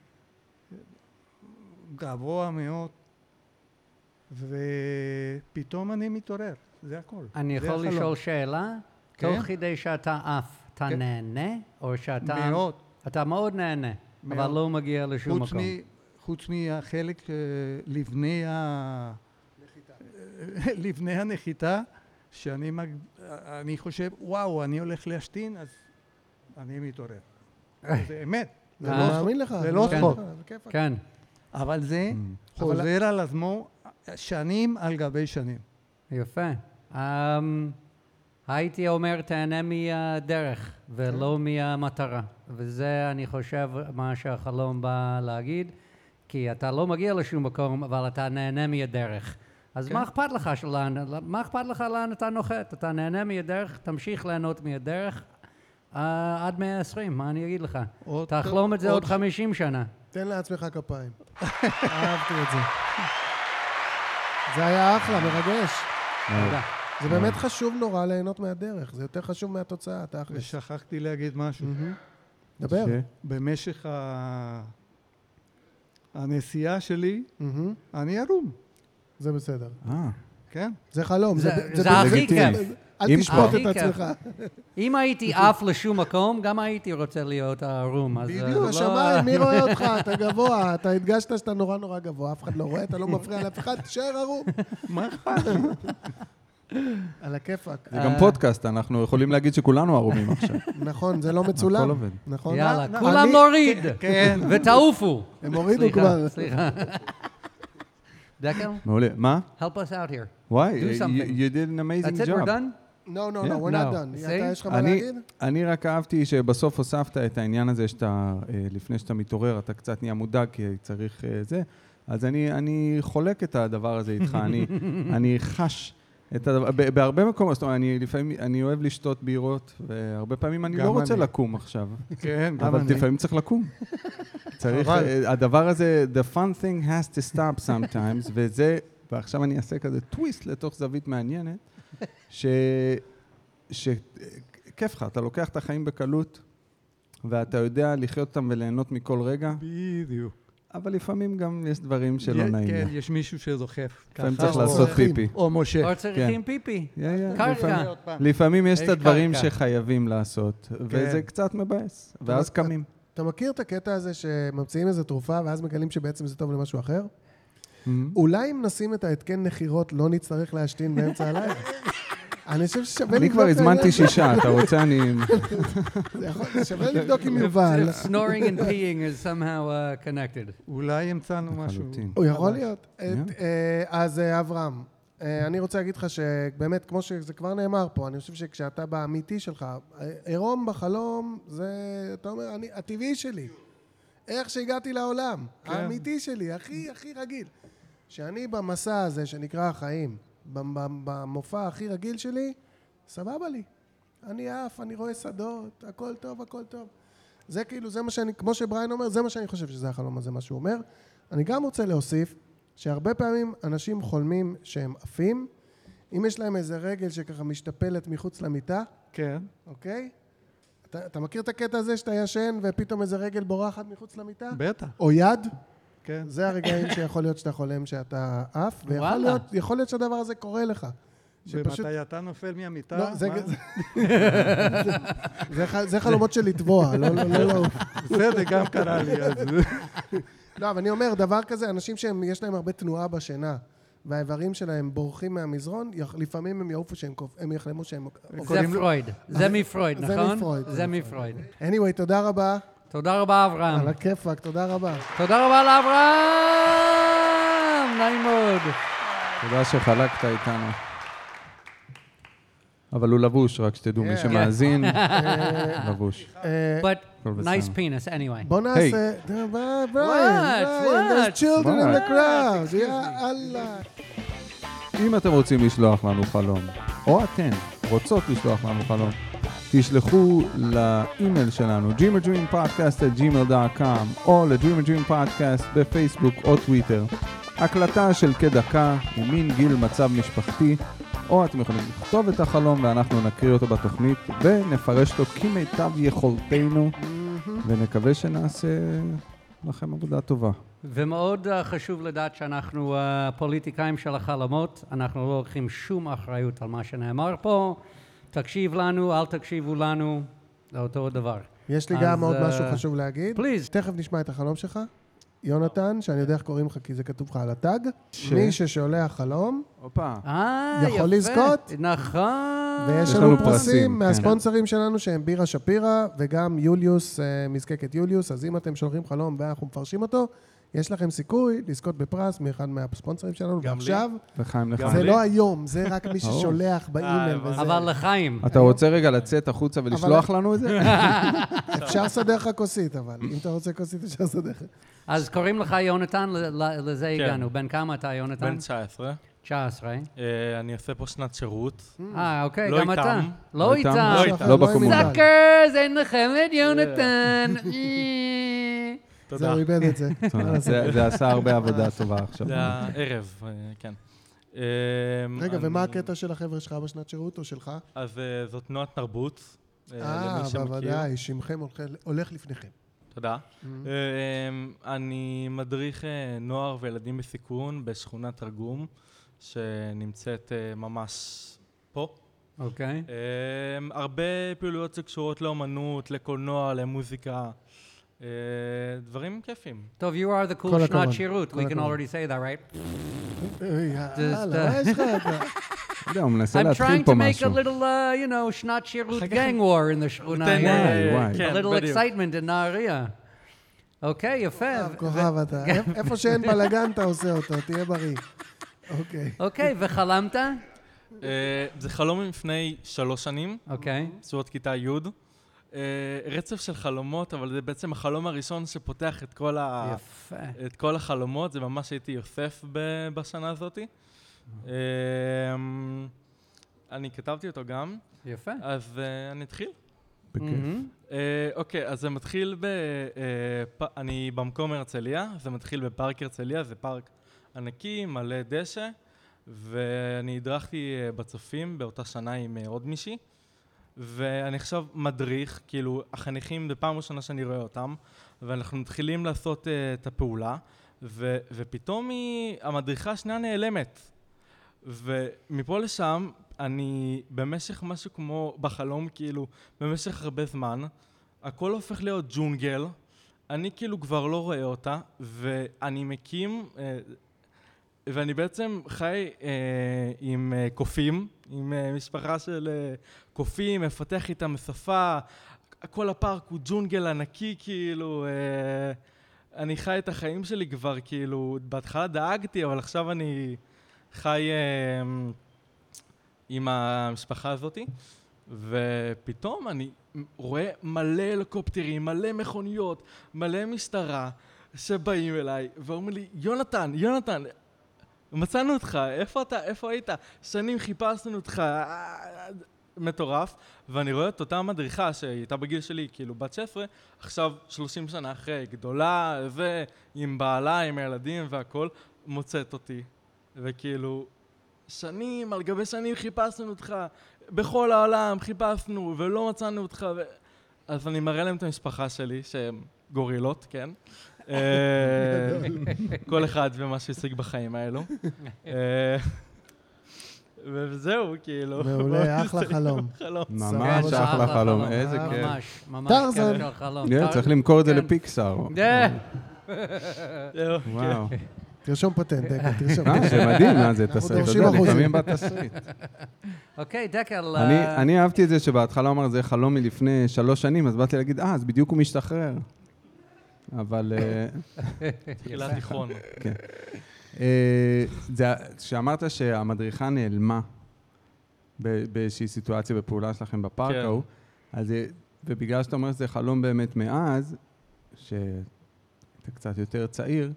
גבוה מאוד, ופתאום אני מתעורר, זה הכל. אני זה יכול החלום. לשאול שאלה? כן. תוך כדי שאתה עף, אתה כן. נהנה? או שאתה... מאוד. אתה מאוד נהנה, אבל מאוד. לא מגיע לשום חוץ, מקום. מ, חוץ מהחלק אה, לפני, ה... לפני הנחיתה, שאני מג... אני חושב, וואו, אני הולך להשתין, אז אני מתעורר. זה אמת, זה אני לא צחוק. מאמין לך. זה אני לא מאמין צחוק. לך, Mm. זה כיפאק. כן. אבל זה חוזר על עצמו שנים על גבי שנים. יפה. Um, הייתי אומר, תהנה מהדרך ולא כן. מהמטרה. וזה, אני חושב, מה שהחלום בא להגיד, כי אתה לא מגיע לשום מקום, אבל אתה נהנה מהדרך. אז כן. מה אכפת לך שלאן, מה אכפת לך לאן אתה נוחת? אתה נהנה מהדרך, תמשיך ליהנות מהדרך uh, עד 120, מה אני אגיד לך? עוד- תחלום את זה עוד- עוד 50 שנה. תן לעצמך כפיים. אהבתי את זה. זה היה אחלה, מרגש. תודה. זה באמת חשוב נורא ליהנות מהדרך, זה יותר חשוב מהתוצאה, תכלס. ושכחתי להגיד משהו. דבר. ש- במשך ה... הנסיעה שלי, מהמם. אני ערום, זה בסדר. אה, כן? זה חלום. זה- זה זה הכי בסדר. כיף. אל אם תשפוט כבר. את הכי כיף. עצמך. אם הייתי עף לשום מקום, גם הייתי רוצה להיות ערום. אז, אה, בדיוק, לא- השמיים, מי רואה אותך? אתה גבוה, אתה הדגשת שאתה נורא נורא גבוה, אף אחד לא רואה, אתה לא מפריע לאף אחד, תישאר ערום. מה אכפת לי? על הכיפאק. זה גם אה. פודקאסט, אנחנו יכולים להגיד שכולנו ערומים עכשיו. נכון, זה לא הכל מצולם. עובד. נכון. יאללה, אני- כולם נוריד, כן. ותעופו. הם הורידו סליחה, כבר. סליחה. Deckel, מעולה. מה? help us out here. וואי, Do you, something. you did an amazing That's it, job. we're done? No, no, Yeah, no, we're no. not done. See? אתה, יש לך מה אני, להגיד? אני רק אהבתי שבסוף הוספת את העניין הזה שאתה, אה, לפני שאתה מתעורר, אתה קצת נהיה מודאג כי צריך אה, זה. אז אני, אני חולק את הדבר הזה איתך, אני, אני חש את הדבר, ב- בהרבה מקומות, זאת אומרת, אני לפעמים, אני אוהב לשתות בירות, והרבה פעמים אני גם לא רוצה אני. לקום עכשיו, כן, גם אבל אני. לפעמים צריך לקום. צריך, חבל. אה, הדבר הזה, the fun thing has to stop sometimes, וזה, ועכשיו אני אעשה כזה טוויסט לתוך זווית מעניינת, ש... שכיף לך, אתה לוקח את החיים בקלות, ואתה יודע לחיות אותם וליהנות מכל רגע, בדיוק. אבל לפעמים גם יש דברים שלא יה- נעים. כן, לך. יש מישהו כן. שדוחף. כן. לפעמים ככה, צריך או- לעשות אחים. פיפי. או משה. או צריכים פיפי. יא, יא, קרקע. לפעמים- עוד פעם. כן. לפעמים יש יש את הדברים קרקע. שחייבים לעשות, וזה קצת מבאס, ואז כן. אתה- קמים. אתה מכיר את הקטע הזה שממציאים איזו תרופה ואז מגלים שבעצם זה טוב למשהו אחר? אולי אם נשים את ההתקן נחירות לא נצטרך להשתין באמצע הלילה? אני חושב ששווה אני לבדוק... כבר את העניין הזמנתי הזה. שישה, אתה רוצה, אני... זה יכול- שווה לבדוק עם יובל. If Snoring and peeing is somehow uh, connected. אולי המצאנו משהו. לחלוטין. הוא יכול להיות. את- Yeah. אה, אז אה, אברהם, אה, אני רוצה להגיד לך שבאמת, כמו שזה כבר נאמר פה, אני חושב שכשאתה באמיתי שלך, אה, עירום בחלום, זה, אתה אומר, אני, הטבעי שלי. איך שהגעתי לעולם. האמיתי שלי, הכי הכי רגיל. שאני במסע הזה שנקרא החיים, במ- במ- במופע הכי רגיל שלי, סבבה לי. אני עף, אני רואה שדות, הכל טוב, הכל טוב. זה כאילו, זה מה שאני, כמו שבריין אומר, זה מה שאני חושב שזה החלום הזה, מה שהוא אומר. אני גם רוצה להוסיף שהרבה פעמים אנשים חולמים שהם עפים. אם יש להם איזה רגל שככה משתפלת מחוץ למיטה, כן. אוקיי? אתה, אתה מכיר את הקטע הזה שאתה ישן ופתאום איזה רגל בורחת מחוץ למיטה? בטח, או יד? כן. זה הרגעים שיכול להיות שאתה חולם שאתה עף, ויכול וואלה. להיות, יכול להיות שהדבר הזה קורה לך. שפשוט... ומתי אתה נופל מהמיטה? לא, זה, מה? זה, זה, ח- זה חלומות של לטבוע, לא, לא, לא, לא. זה, זה גם קרה לי. אז... לא, אבל אני אומר, דבר כזה, אנשים שיש להם הרבה תנועה בשינה, והאיברים שלהם בורחים מהמזרון, יח- לפעמים הם יעופו שהם קופ... הם יחלמו שהם... זה פרויד. זה מפרויד, זה נכון? מפרויד, זה זה מפרויד. anyway, תודה רבה. תודה רבה, אברהם. על הכיפאק, תודה רבה. תודה רבה לאברהם! נעים מאוד. תודה שחלקת איתנו. אבל הוא לבוש, רק שתדעו, מי כן. שמאזין, לבוש. אה, But הכל בסדר. nice penis anyway. בוא נעשה... ב- ב- בריין, בריין, what? there's children in the What? crowd, יא אללה. אם אתם רוצים לשלוח לנו חלום, או אתן רוצות לשלוח לנו חלום, תשלחו לאימייל שלנו, dreamadreampodcast@gmail.com, או ל-dreamadreampodcast בפייסבוק או טוויטר. הקלטה של כדקה ומין גיל מצב משפחתי, או אתם יכולים לכתוב את החלום ואנחנו נקריא אותו בתוכנית ונפרש אותו כמיטב יכולתנו, ונקווה שנעשה לכם עבודה טובה. ומאוד אה, חשוב לדעת שאנחנו אה, פוליטיקאים של החלומות, אנחנו לא לוקחים שום אחריות על מה שנאמר פה. תקשיב לנו, אל תקשיבו לנו, זה אותו דבר. יש לי אז, גם עוד אה, משהו חשוב להגיד. please. תכף נשמע את החלום שלך. יונתן, שאני יודע איך קוראים לך כי זה כתוב לך על התג. ש? מי ששולח חלום, הופה. אה, יפה. יכול לזכות? נכון. ויש יש לנו לנו פרסים פרסים, כן. מהספונסרים שלנו שהם בירה שפירא וגם יוליוס, אה, מזקקת יוליוס, אז אם אתם שולחים חלום ואנחנו מפרשים אותו, יש לכם סיכוי לזכות בפרס מאחד מהספונסרים שלנו, גם לי. ועכשיו, וחיים לך. גם זה לי. לא היום, זה רק מי ברור. ששולח באימייל וזה. אה, אבל לחיים. אתה רוצה רגע לצאת החוצה ולשלוח לנו את זה? אפשר לסדר לך כוסית, אבל אם אתה רוצה כוסית, אפשר לסדר לך. אז קוראים לך יונתן, ל- ל- לזה כן. הגענו. בן כמה אתה, יונתן? בן 19. 19. אה, אני עושה פה שנת שירות. אה, אוקיי, לא גם איתם. אתה. לא איתם. לא איתם. לא לא עם בקומונה. מוגבל. Suckers, אין לכם את יונתן. אה. זהו, תודה. הוא איבד את זה. זה זה עשה הרבה עבודה טובה עכשיו. זה הערב, אה, כן. אה, רגע, אני- ומה הקטע של החבר'ה שלך בשנת שירות או שלך? אז אה, זאת תנועת תרבות, אה, אה, למי שמכיר. בוודאי, שמכם הולך- הולך לפניכם. תודה. Mm-hmm. אה, אני מדריך אה, נוער וילדים בסיכון בשכונת תרגום, שנמצאת אה, ממש פה. אוקיי. אמ, הרבה פעילויות שקשורות לאומנות, לקולנוע, למוזיקה, אה, דברים כיפים. טוב, you are the כל cool הכבוד. שנת שירות. כל We can הכבוד. already say that, right? אוי, יאללה, Just, מה יש לך? אתה- יודע, הוא מנסה I'm להתחיל trying פה to make a משהו. little, uh, you know, שנת שירות אחר כך- gang war in השכונה. תן, yeah. אה, וואי. כן, A little בדיוק. excitement in נהריה. אוקיי, יפה. ו- כוכב אתה. איפ- איפה שאין בלאגן אתה עושה אותו, תהיה בריא. אוקיי. אוקיי, וחלמת? אה, זה חלום מלפני שלוש שנים, אוקיי. בסביבות כיתה י'. אה, רצף של חלומות, אבל זה בעצם החלום הראשון שפותח את כל, ה... יפה. את כל החלומות, זה ממש הייתי יוסף ב... בשנה הזאתי. אוקיי. אה, אני כתבתי אותו גם, יפה. אז אה, אני אתחיל. בכיף. מהמם. אה, אוקיי, אז זה מתחיל ב... אה, פ- אני במקום הרצליה, זה מתחיל בפארק הרצליה, זה פארק ענקי, מלא דשא, ואני הדרכתי אה, בצופים באותה שנה עם אה, עוד מישהי, ואני עכשיו מדריך, כאילו, החניכים, זו פעם ראשונה שאני רואה אותם, ואנחנו מתחילים לעשות אה, את הפעולה, ו- ופתאום היא, המדריכה השנייה נעלמת. ומפה לשם, אני במשך משהו כמו בחלום, כאילו, במשך הרבה זמן, הכל הופך להיות ג'ונגל, אני כאילו כבר לא רואה אותה, ואני מקים, אה, ואני בעצם חי אה, עם אה, קופים, עם אה, משפחה של אה, קופים, מפתח איתם שפה, כל הפארק הוא ג'ונגל ענקי, כאילו, אה, אני חי את החיים שלי כבר, כאילו, בהתחלה דאגתי, אבל עכשיו אני חי אה, עם המשפחה הזאתי. ופתאום אני רואה מלא הליקופטרים, מלא מכוניות, מלא משטרה שבאים אליי ואומרים לי, יונתן, יונתן, מצאנו אותך, איפה אתה, איפה היית? שנים חיפשנו אותך, אה, מטורף. ואני רואה את אותה מדריכה שהייתה בגיל שלי, כאילו בת 16, עכשיו 30 שנה אחרי, גדולה, ועם בעלה, עם הילדים והכול, מוצאת אותי. וכאילו, שנים על גבי שנים חיפשנו אותך, בכל העולם חיפשנו ולא מצאנו אותך. ו... אז אני מראה להם את המשפחה שלי, שהם גורילות, כן? אה, כל אחד ומה שהשיג בחיים האלו. אה, וזהו, כאילו. מעולה, אחלה חלום. חלום. ממש סבבה, כן, אחלה חלום, איזה אה, כיף. ממש, ממש. טרזן. כיף של חלום. כן, טר- צריך למכור את זה כן. לפיקסאר. כן. זהו, כן. וואו. תרשום פטנט, דקה, תרשום. אה, זה מדהים, מה זה אנחנו תסריט. אתה דורשים יודע, אחוזים. לפעמים בתסריט. אוקיי, דקל. אני- אה, אני אהבתי את זה שבהתחלה הוא אמר, זה חלום מלפני שלוש שנים, אז באתי להגיד, אה, אז בדיוק הוא משתחרר. אבל... אה, כן. תחילת תיכון. אה, זה, שאמרת שהמדריכה נעלמה ב- באיזושהי סיטואציה בפעולה שלכם בפארק כן. ההוא, אז, אה, ובגלל שאתה אומר שזה חלום באמת מאז, שאתה קצת יותר צעיר,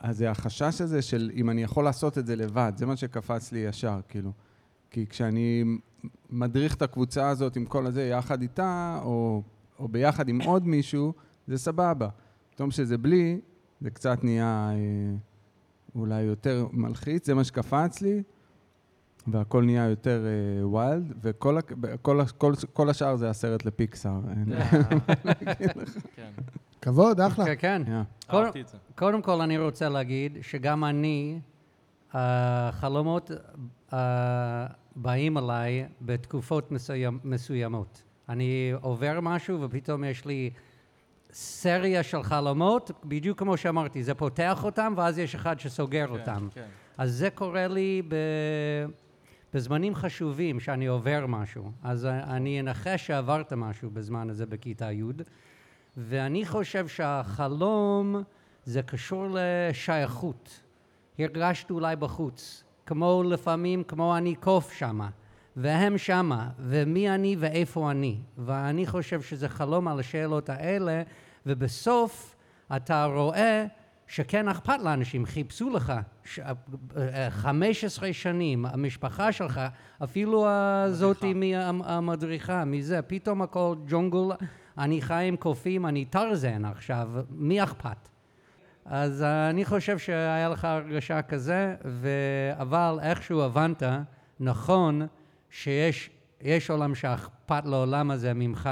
אז זה החשש הזה של אם אני יכול לעשות את זה לבד, זה מה שקפץ לי ישר, כאילו. כי כשאני מדריך את הקבוצה הזאת עם כל הזה יחד איתה, או, או ביחד עם עוד מישהו, זה סבבה. פתאום שזה בלי, זה קצת נהיה אה, אולי יותר מלחיץ, זה מה שקפץ לי, והכל נהיה יותר אה, ויילד, וכל הק- ב- כל, הש- כל, כל השאר זה הסרט לפיקסאר. אין- כן, כבוד, אחלה. כן, כן. שנייה. כל- אהבתי את זה. קודם כל אני רוצה להגיד שגם אני, החלומות אה, באים אליי בתקופות מסוימ- מסוימות. אני עובר משהו ופתאום יש לי סריה של חלומות, בדיוק כמו שאמרתי, זה פותח אותם ואז יש אחד שסוגר אותם. כן. אז זה קורה לי ב... בזמנים חשובים, שאני עובר משהו. אז אני אנחש שעברת משהו בזמן הזה בכיתה י', ואני חושב שהחלום זה קשור לשייכות. הרגשת אולי בחוץ, כמו לפעמים, כמו אני קוף שמה, והם שמה, ומי אני ואיפה אני. ואני חושב שזה חלום על השאלות האלה, ובסוף אתה רואה שכן אכפת לאנשים, חיפשו לך ש- אה, אה, 15 שנים, המשפחה שלך, אפילו הזאתי מהמדריכה, מזה, פתאום הכל ג'ונגל, אני חי עם קופים, אני טרזן עכשיו, מי אכפת? אז אה, אני חושב שהיה לך הרגשה כזה, ו... אבל איכשהו הבנת נכון שיש יש עולם שאכפת לעולם הזה ממך,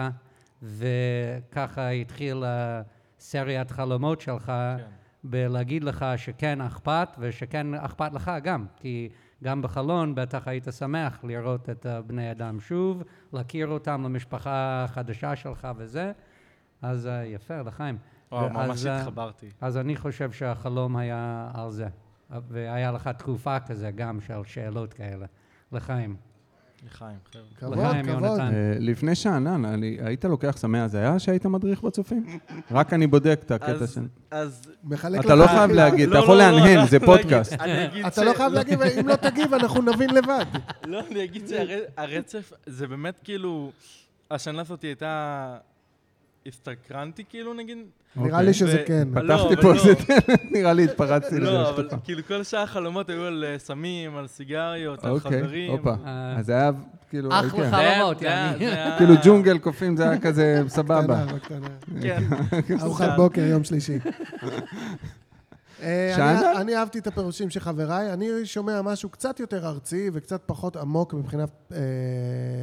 וככה התחילה סריית חלומות שלך, כן. בלהגיד לך שכן אכפת, ושכן אכפת לך גם, כי גם בחלון בטח היית שמח לראות את בני אדם שוב, להכיר אותם למשפחה החדשה שלך וזה, אז אה, יפה, לחיים. וואו, ממש ואז, אה, התחברתי. אז אני חושב שהחלום היה על זה. והיה לך תקופה כזה גם של שאלות כאלה. לחיים. לחיים, חבר'ה. כבוד, לחיים, כבוד. יונתן. אה, לפני שאנן, אני- היית לוקח סמי הזיה שהיית מדריך בצופים? רק אני בודק את הקטע אז- של... אז... מחלק אתה לא לך- חייב להגיד, אתה לא, יכול לא, לא, להנהן, לא, זה לא פודקאסט. אגיד- אני אגיד אתה ש- לא חייב להגיב, אם לא תגיב, אנחנו נבין לבד. לא, אני אגיד שהרצף, זה באמת כאילו, השנה הזאת הייתה... הסתקרנתי כאילו נגיד? נראה לי שזה ו- כן. לא, אוקיי. פתחתי אבל פה לא. איזה דלת, נראה לי התפרצתי לא, לזה אבל שלך. כאילו כל שאר החלומות היו על אה, סמים, על סיגריות, על אוקיי, חברים. הופה. אה, אז זה היה כאילו, אח כן. זה היה- חלומות, זה היה- יעני. זה היה- כאילו ג'ונגל קופים, זה היה כזה סבבה. קטנה, בקטנה. כן. ארוחת בוקר, יום שלישי. אה, אני- שאלת? אני אהבתי את הפירושים של חבריי. אני שומע משהו קצת יותר ארצי וקצת פחות עמוק מבחינה אה,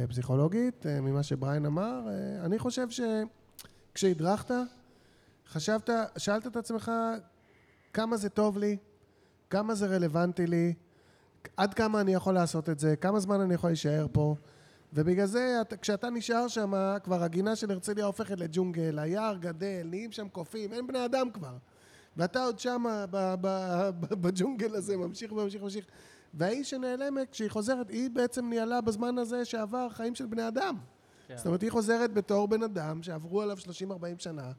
פסיכולוגית אה, ממה שבריין אמר. אה, אני חושב שכשהדרכת, חשבת, שאלת את עצמך כמה זה טוב לי, כמה זה רלוונטי לי, עד כמה אני יכול לעשות את זה, כמה זמן אני יכול להישאר פה. ובגלל זה, אתה- כשאתה נשאר שם, כבר הגינה של הרצליה הופכת לג'ונגל, היער גדל, נהיים שם קופים, אין בני אדם כבר. ואתה עוד שם ב- ב- ב- בג'ונגל הזה, ממשיך וממשיך וממשיך. והאיש שנעלמת, כשהיא חוזרת, היא בעצם ניהלה בזמן הזה שעבר חיים של בני אדם. כן. זאת אומרת, היא חוזרת בתור בן אדם שעברו עליו 30-40 שנה,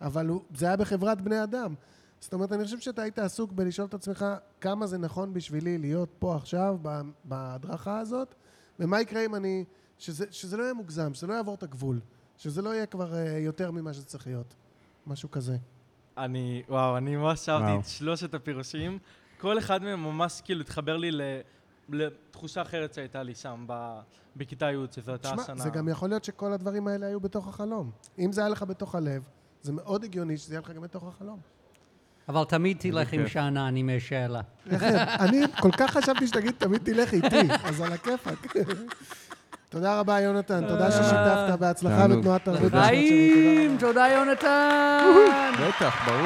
אבל הוא, זה היה בחברת בני אדם. זאת אומרת, אני חושב שאתה היית עסוק בלשאול את עצמך כמה זה נכון בשבילי להיות פה עכשיו, ב- בהדרכה הזאת, ומה יקרה אם אני... שזה, שזה לא יהיה מוגזם, שזה לא יעבור את הגבול, שזה לא יהיה כבר אה, יותר ממה שצריך להיות. משהו כזה. אני, וואו, אני ממש אהבתי וואו. את שלושת הפירושים. כל אחד מהם ממש כאילו התחבר לי ל- לתחושה אחרת שהייתה לי שם, ב- בכיתה י', שזו הייתה תשמע, השנה. זה גם יכול להיות שכל הדברים האלה היו בתוך החלום. אם זה היה לך בתוך הלב, זה מאוד הגיוני שזה יהיה לך גם בתוך החלום. אבל תמיד תלך עם שאנן אם יש שאלה. אני כל כך חשבתי שתגיד, תמיד תלך איתי, אז על הכיפאק. תודה רבה, יונתן, תודה ששיתפת, בהצלחה תענוג. בתנועת תרבות. חיים! תודה יונתן! בטח, ברור.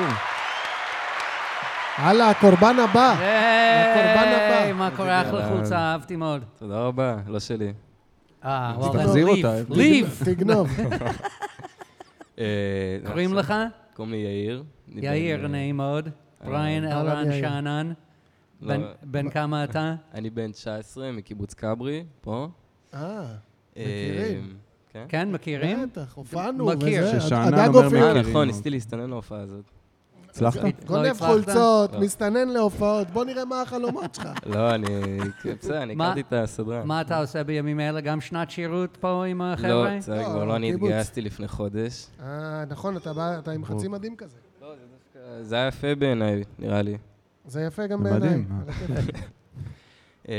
הלאה, הקורבן הבא. הקורבן הבא. היי, מה קורה? אחלה חולצה, אהבתי מאוד. תודה רבה, לא שלי. אה, אז תחזיר אותה, ליב, הבנתי. ליב! תגנוב. אה, קוראים לך? קוראים לי יאיר. אני בן- אה, יאיר, נעים מאוד. בריין אהלן, אלרן אה, יאיר. שאנן. לא, בן- בן כמה אתה? אני בן 19 מקיבוץ כברי, פה. אה, אה, מכירים. כן. כן, מכירים? בטח, הופענו מכיר. וזה. ששאנן הדג אומר הופיעו. אה, מכירים. נכון, ניסיתי להסתנן להופעה הזאת. הצלחת? לא גונב הצלחת? חולצות, לא. מסתנן להופעות, בוא נראה מה החלומות שלך. לא, אני... כן, בסדר, אני מה- הכרתי את הסדרן. מה אתה עושה בימים אלה? גם שנת שירות פה עם לא, החבר'ה? בסדר, לא, כבר לא, אני קיבוץ. התגייסתי לפני חודש. אה, נכון, אתה בא, אתה עם חצי מדים כזה. זה היה יפה בעיניי, נראה לי. זה יפה גם זה בעיניי. מדהים. על הכיפאק. אה,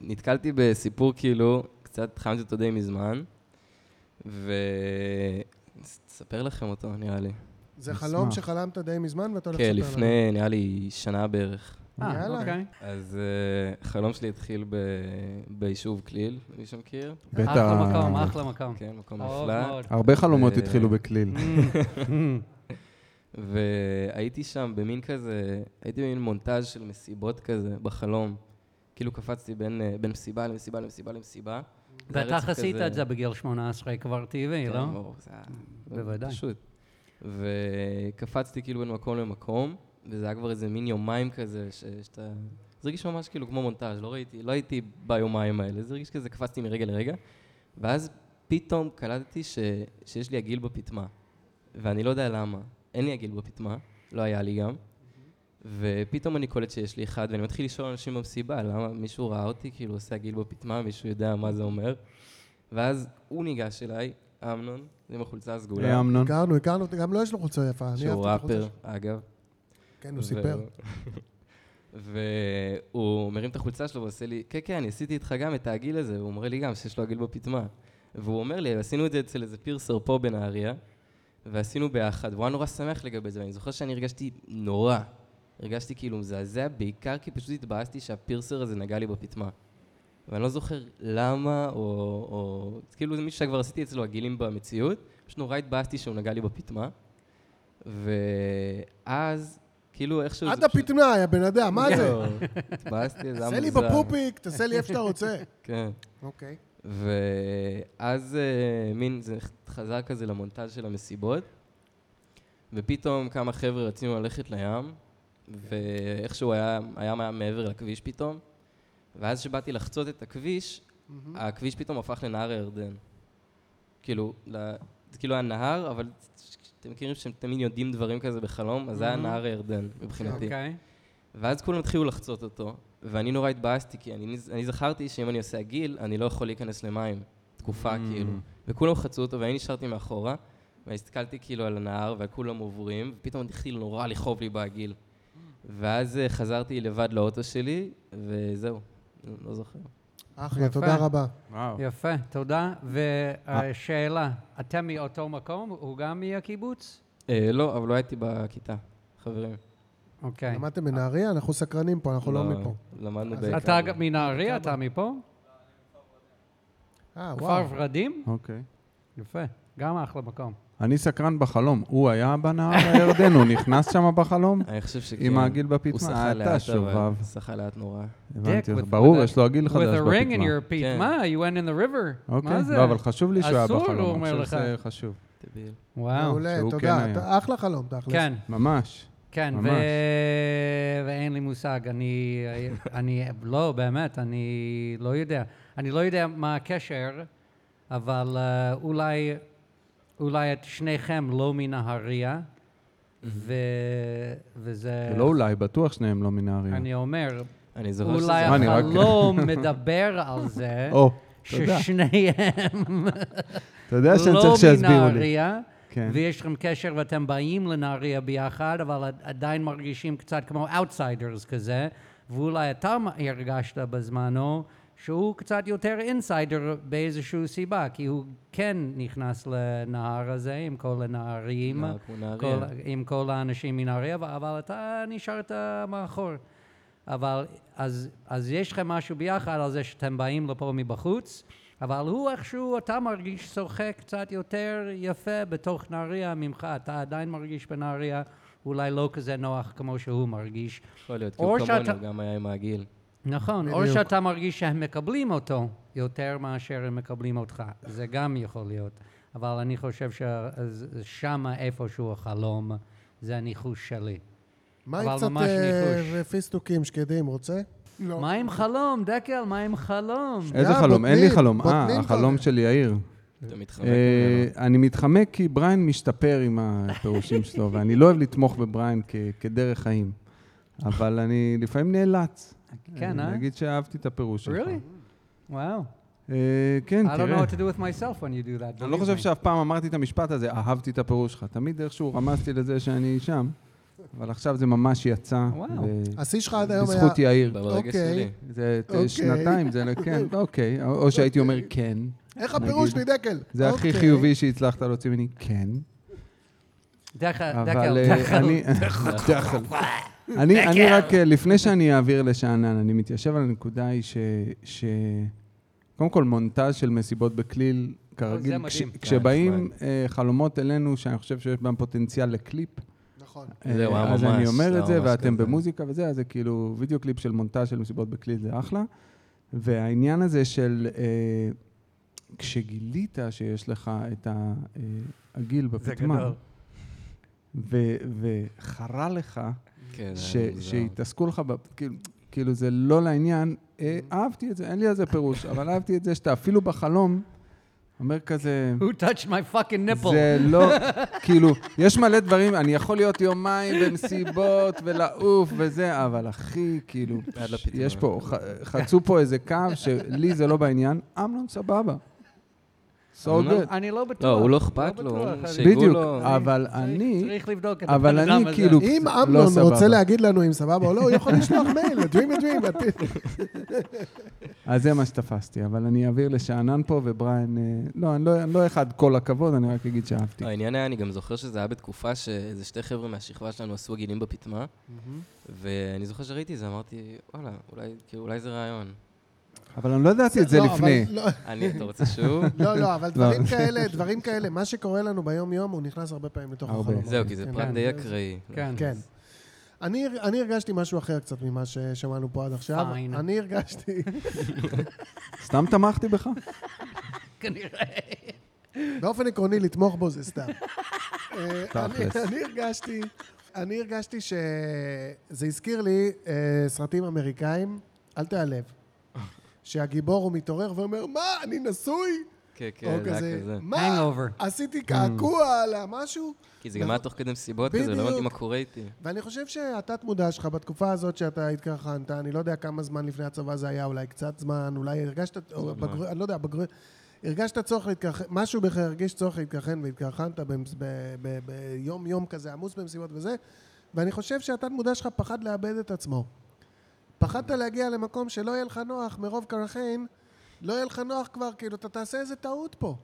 נתקלתי בסיפור כאילו, קצת חמתי אותו די מזמן, ו... אספר לכם אותו, נראה לי. זה נשמח. חלום שחלמת די מזמן ואתה הולך כן, לספר לנו. לפני, נראה לי, שנה בערך. אה, יאללה. אוקיי. אז uh, חלום שלי התחיל ב... ביישוב כליל, מי שמכיר? בטח. אחלה מקום, אחלה מקום. כן, מקום אהוב נפלא. מאוד. Mm, הרבה חלומות אה, התחילו בכליל. והייתי שם במין כזה, הייתי במין מונטאז' של מסיבות כזה, בחלום. כאילו קפצתי בין, אה, בין מסיבה למסיבה למסיבה למסיבה. זה היה בטח רצף עשית כזה- את זה בגיל 18 כבר טבעי, כן, לא? ברור, זה היה בוודאי. פשוט. וקפצתי כאילו בין מקום למקום, וזה היה כבר איזה מין יומיים כזה, ש- שאתה... זה הרגיש ממש כאילו כמו מונטאז', לא ראיתי, לא הייתי ביומיים האלה, זה הרגיש כזה, קפצתי מרגע לרגע, ואז פתאום קלטתי ש... שיש לי עגיל בפטמה, ואני לא יודע למה. אין לי עגיל בפטמה, לא היה לי גם, ופתאום אני קולט שיש לי אחד, ואני מתחיל לשאול אנשים במסיבה, למה מישהו ראה אותי, כאילו עושה עגיל בפטמה, מישהו יודע מה זה אומר, ואז הוא ניגש אליי, אמנון, זה עם החולצה הסגולה. היי אמנון. הכרנו, הכרנו, גם לו יש לו חולצה יפה. אני שהוא אהבתי את החולצה ראפר, שלו. אגב. כן, הוא סיפר. והוא מרים את החולצה שלו ועושה לי, כן, כן, אני עשיתי איתך גם את העגיל הזה, והוא אומר לי גם שיש לו עגיל בפטמה. והוא אומר לי, עשינו את זה אצל איזה פירסר פה בנהריה, ועשינו ביחד, והוא היה נורא שמח לגבי זה, ואני זוכר שאני הרגשתי נורא. הרגשתי כאילו מזעזע, בעיקר כי פשוט התבאסתי שהפירסר הזה נגע לי בפטמה. ואני לא זוכר למה, או... או כאילו זה מישהו שכבר עשיתי אצלו עגילים במציאות, פשוט נורא התבאסתי שהוא נגע לי בפטמה. ואז, כאילו איכשהו... עד זה פשוט- הפטמה, יא בן אדם, מה זה? לא, התבאסתי, זה היה מוזר. תעשה לי בפופיק, תעשה לי איפה שאתה רוצה. כן. אוקיי. ואז אה, מין, זה חזר כזה למונטאז' של המסיבות, ופתאום כמה חבר'ה רצינו ללכת לים, ואיכשהו היה, הים היה מעבר לכביש פתאום, ואז כשבאתי לחצות את הכביש, הכביש פתאום הפך לנהר הירדן. כאילו, ל- זה כאילו היה נהר, אבל אתם מכירים שאתם תמיד יודעים דברים כזה בחלום, אז זה היה Mhm. נהר הירדן מבחינתי. אוקיי. ואז כולם התחילו לחצות אותו, ואני נורא התבאסתי, כי אני, אני זכרתי שאם אני עושה עגיל, אני לא יכול להיכנס למים. תקופה, Mm. כאילו. וכולם חצו אותו, ואני נשארתי מאחורה, והסתכלתי כאילו על הנהר, וכולם עוברים, ופתאום התחיל נורא לכאוב לי בעגיל. ואז אה, חזרתי לבד לאוטו שלי, וזהו, לא זוכר. אחלה, תודה רבה. יפה, תודה. והשאלה, אתם מאותו מקום? הוא גם מהקיבוץ? אה, לא, אבל לא הייתי בכיתה, חברים. אוקיי. למדתם בנהריה? אנחנו סקרנים פה, אנחנו לא לא, מפה. למדנו אז- בעיקר. אתה גם מנהריה? אתה מפה? אה, כפר וואו. ורדים? אוקיי. יפה, גם אחלה מקום. אני סקרן בחלום. הוא היה בנהר הירדן, הוא נכנס שם בחלום? אני חושב שכן. עם העגיל הוא בפטמה? שחה אה, לאט, אבל- אתה שובב. שחה לאט נורא. הבנתי Dick אותך. with- ברור, with a- יש לו עגיל חדש With a ring in בפטמה. your pit. כן. מה? You went in the river. מה אוקיי, זה? לא, אבל חשוב לי שהוא היה אסור, הוא בחלום. אומר אני לך. חושב שזה חשוב. טביל. וואו. מעולה, שהוא כן תודה. היה. אתה- אחלה חלום, תכלס. כן, ממש. כן, ו... ממש. ואין לי מושג. אני, אני, לא, באמת, אני לא יודע. אני לא יודע מה הקשר, אבל אה, אולי, אולי את שניכם לא מנהריה, ו... וזה... לא אולי, בטוח שניהם לא מנהריה. אני אומר, אני זוכר שזה... אולי מה, אני רק- החלום מדבר על זה, או, תודה. ששניהם אתה יודע שאני לא צריך שיסבירו לי. מנהריה, כן. ויש לכם קשר ואתם באים לנהריה ביחד, אבל עד- עדיין מרגישים קצת כמו אאוטסיידרס כזה, ואולי אתה הרגשת בזמנו שהוא קצת יותר אינסיידר באיזושהי סיבה, כי הוא כן נכנס לנהר הזה עם כל הנהרים, נהר כמו נהריה. כל, עם כל האנשים מנהריה, אבל- אבל אתה נשארת מאחור. אבל אז, אז יש לכם משהו ביחד על זה שאתם באים לפה מבחוץ, אבל הוא איכשהו, אתה מרגיש שוחק קצת יותר יפה בתוך נהריה ממך, אתה עדיין מרגיש בנהריה אולי לא כזה נוח כמו שהוא מרגיש. יכול להיות, כי או הוא שאתה- כמונו גם היה עם העגיל. נכון, או שאתה מרגיש שהם מקבלים אותו יותר מאשר הם מקבלים אותך, זה גם יכול להיות. אבל אני חושב ששם איפשהו החלום, זה הניחוש שלי. מה עם אבל קצת ממש אה, ניחוש. פיסטוקים שקדים, רוצה? לא. מה עם חלום, דקל? מה עם חלום? איזה אה, חלום? אין לי בוטנים, חלום. בוטנים אה, החלום כבר. של יאיר. אתה מתחמק אה, ממנו. אני מתחמק כי בריין משתפר עם הפירושים שלו, ואני לא אוהב לתמוך בבריין כ- כדרך חיים. אבל אני לפעמים נאלץ. כן, אני אה? אגיד שאהבתי את הפירוש שלך. Really? וואו. אה, כן, I don't know תראה. what to do with myself when you do that. אני לא believe חושב me. שאף פעם אמרתי את המשפט הזה, אהבתי את הפירוש שלך. תמיד איכשהו רמזתי לזה שאני שם, אבל עכשיו זה ממש יצא. וואו. ו- השיא שלך עד היום היה... בזכות יאיר. ברגע אוקיי. שלי. זה זה אוקיי. שנתיים, זה כן, אוקיי. או או שהייתי אומר כן. איך הפירוש נגיד. שלי, דקל? זה הכי אוקיי. חיובי שהצלחת להוציא ממני, כן. דקל, אבל דקל, אה, דקל. אני... דחל. אני אני רק, אה, לפני שאני אעביר לשאנן, אני מתיישב על הנקודה היא ש- ש... קודם כל, מונטז של מסיבות בכליל, כרגיל, מדהים. כש- כן, כשבאים אה, חלומות אלינו, שאני חושב שיש בהם פוטנציאל לקליפ, נכון. אה, זהו, היה אז ממש, אני אומר היה את זה, ממש ואתם כזה. במוזיקה וזה, אז זה כאילו וידאו קליפ של מונטאז' של מסיבות בקליל זה אחלה. והעניין הזה של אה, כשגילית שיש לך את ה- אה, הגיל זה בפטמה, גדול. ו- וחרה לך כן, ש- זה היה מוזר. שהתעסקו לך, ב- כאילו- כאילו זה לא לעניין, אה, אהבתי את זה, אין לי על זה פירוש, אבל אהבתי את זה שאתה אפילו בחלום אומר כזה... Who touched my fucking nipple? זה לא, כאילו, יש מלא דברים, אני יכול להיות יומיים במסיבות ולעוף וזה, אבל אחי, כאילו, עד לא לפיטמה. יש פה, ח- חצו פה איזה קו שלי זה לא בעניין, אמנון סבבה. So אמנון? good. אני לא בטוח. לא, הוא לא אכפת לו, בטוח, הוא אני- שיגעו בדיוק, לו. אבל אני, צריך לבדוק את אבל הבן אדם אני הזה. כאילו, אם לא אמנון רוצה סבבה. להגיד לנו אם סבבה או לא, הוא יכול לשלוח מייל, dream a dream. אז זה מה שתפסתי, אבל אני אעביר לשאנן פה, ובריין, אה, לא, אני לא- אני לא אחד כל הכבוד, אני רק אגיד שאהבתי. לא, העניין היה, אני גם זוכר שזה היה בתקופה שאיזה שתי חבר'ה מהשכבה שלנו עשו עגילים בפטמה, Mm-hmm. ואני זוכר שראיתי את זה, אמרתי, וואלה, אולי, כאילו, אולי זה רעיון. אבל אני לא ידעתי את זה לא, אבל- לפני. לא, אני, אתה רוצה שוב? לא, לא, אבל דברים כאלה, דברים כאלה, מה שקורה לנו ביום-יום, הוא נכנס הרבה פעמים לתוך הרבה. החלומות. זהו, כי זה כן. פרט די אקראי. כן. כן. אני, אני הרגשתי משהו אחר קצת ממה ששמענו פה עד עכשיו. Fine. אני הרגשתי, סתם תמכתי בך? כנראה. באופן עקרוני, לתמוך בו זה סתם. אה, אני, תכלס. אני הרגשתי, אני הרגשתי שזה הזכיר לי אה, סרטים אמריקאים, אל תיעלב. שהגיבור הוא מתעורר ואומר, מה, אני נשוי? כן, או כן, זה היה כזה, כזה. מה, Mm. Mm. עשיתי קעקוע על המשהו? כי זה גם היה תוך כדי מסיבות כזה, לא הבנתי בדיוק. מה קורה איתי. ואני חושב שהתת-מודע שלך בתקופה הזאת שאתה התקרחנת, אני לא יודע כמה זמן לפני הצבא זה היה, אולי קצת זמן, אולי הרגשת, או זמן. בגר... אני לא יודע, בגר... הרגשת צורך להתקרחן, משהו בך הרגיש צורך להתקרחן והתקרחנת במס- ב- ב- ביום-יום כזה עמוס במסיבות וזה, ואני חושב שהתת-מודע שלך פחד לאבד את עצמו. פחדת להגיע למקום שלא יהיה לך נוח מרוב קרחן, לא יהיה לך נוח כבר, כאילו, אתה תעשה איזה טעות פה.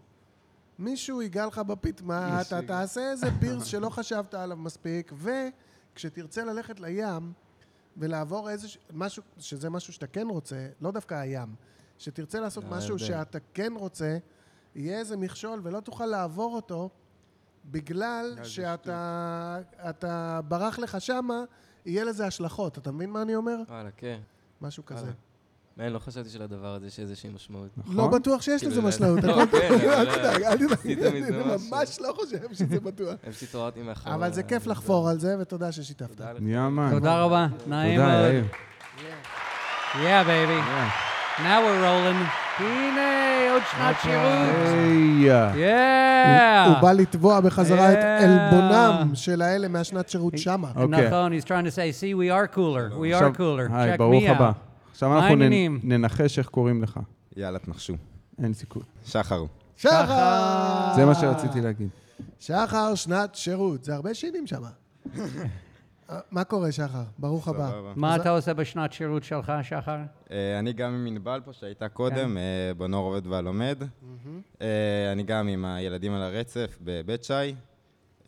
מישהו ייגע לך בפיט, מה, אתה תעשה איזה פירס שלא חשבת עליו מספיק, וכשתרצה ללכת לים ולעבור איזה משהו, שזה משהו שאתה כן רוצה, לא דווקא הים, שתרצה לעשות לא, משהו ההבדל. שאתה כן רוצה, יהיה איזה מכשול ולא תוכל לעבור אותו, בגלל זה שאתה אתה ברח לך שמה, יהיה לזה השלכות. אתה מבין מה אני אומר? וואלה, כן. משהו כזה. מעניין, לא חשבתי שלדבר הזה יש איזושהי משמעות. לא בטוח שיש כאילו, לזה לא- משמעות. לא, הכל- כן, אבל- אל תדאג, אל עשית תדאג. מזה אני משהו. ממש לא חושב שזה בטוח. אני פשוט התעוררתי מהחלום. אבל זה כיף לחפור על זה, ותודה ששיתפת. יאמן. תודה רבה, נעים תודה, מאוד. יאיר. uh, Yeah, baby. Now we're rolling. הנה, עוד שנת שירות. Yeah. הוא בא לתבוע בחזרה את אה. עלבונם של האלה מהשנת שירות שמה. אוקיי. נכון, he's trying to say, see, we are cooler. We עכשיו- are cooler. היי, Check ברוך me הבא. out. עכשיו מה אנחנו נ- העניינים? ננחש איך קוראים לך. יאללה, תנחשו. אין סיכוי. שחר. שחר! זה מה שרציתי להגיד. שחר, שנת שירות. זה הרבה שירים שמה. אה, מה קורה, שחר? ברוך הבא. סבבה. מה אתה עושה בשנת שירות שלך, שחר? אה, אני גם עם ענבל פה שהייתה כן. קודם, אה, בנוער עובד והלומד. אה, אני גם עם הילדים על הרצף בבית שי,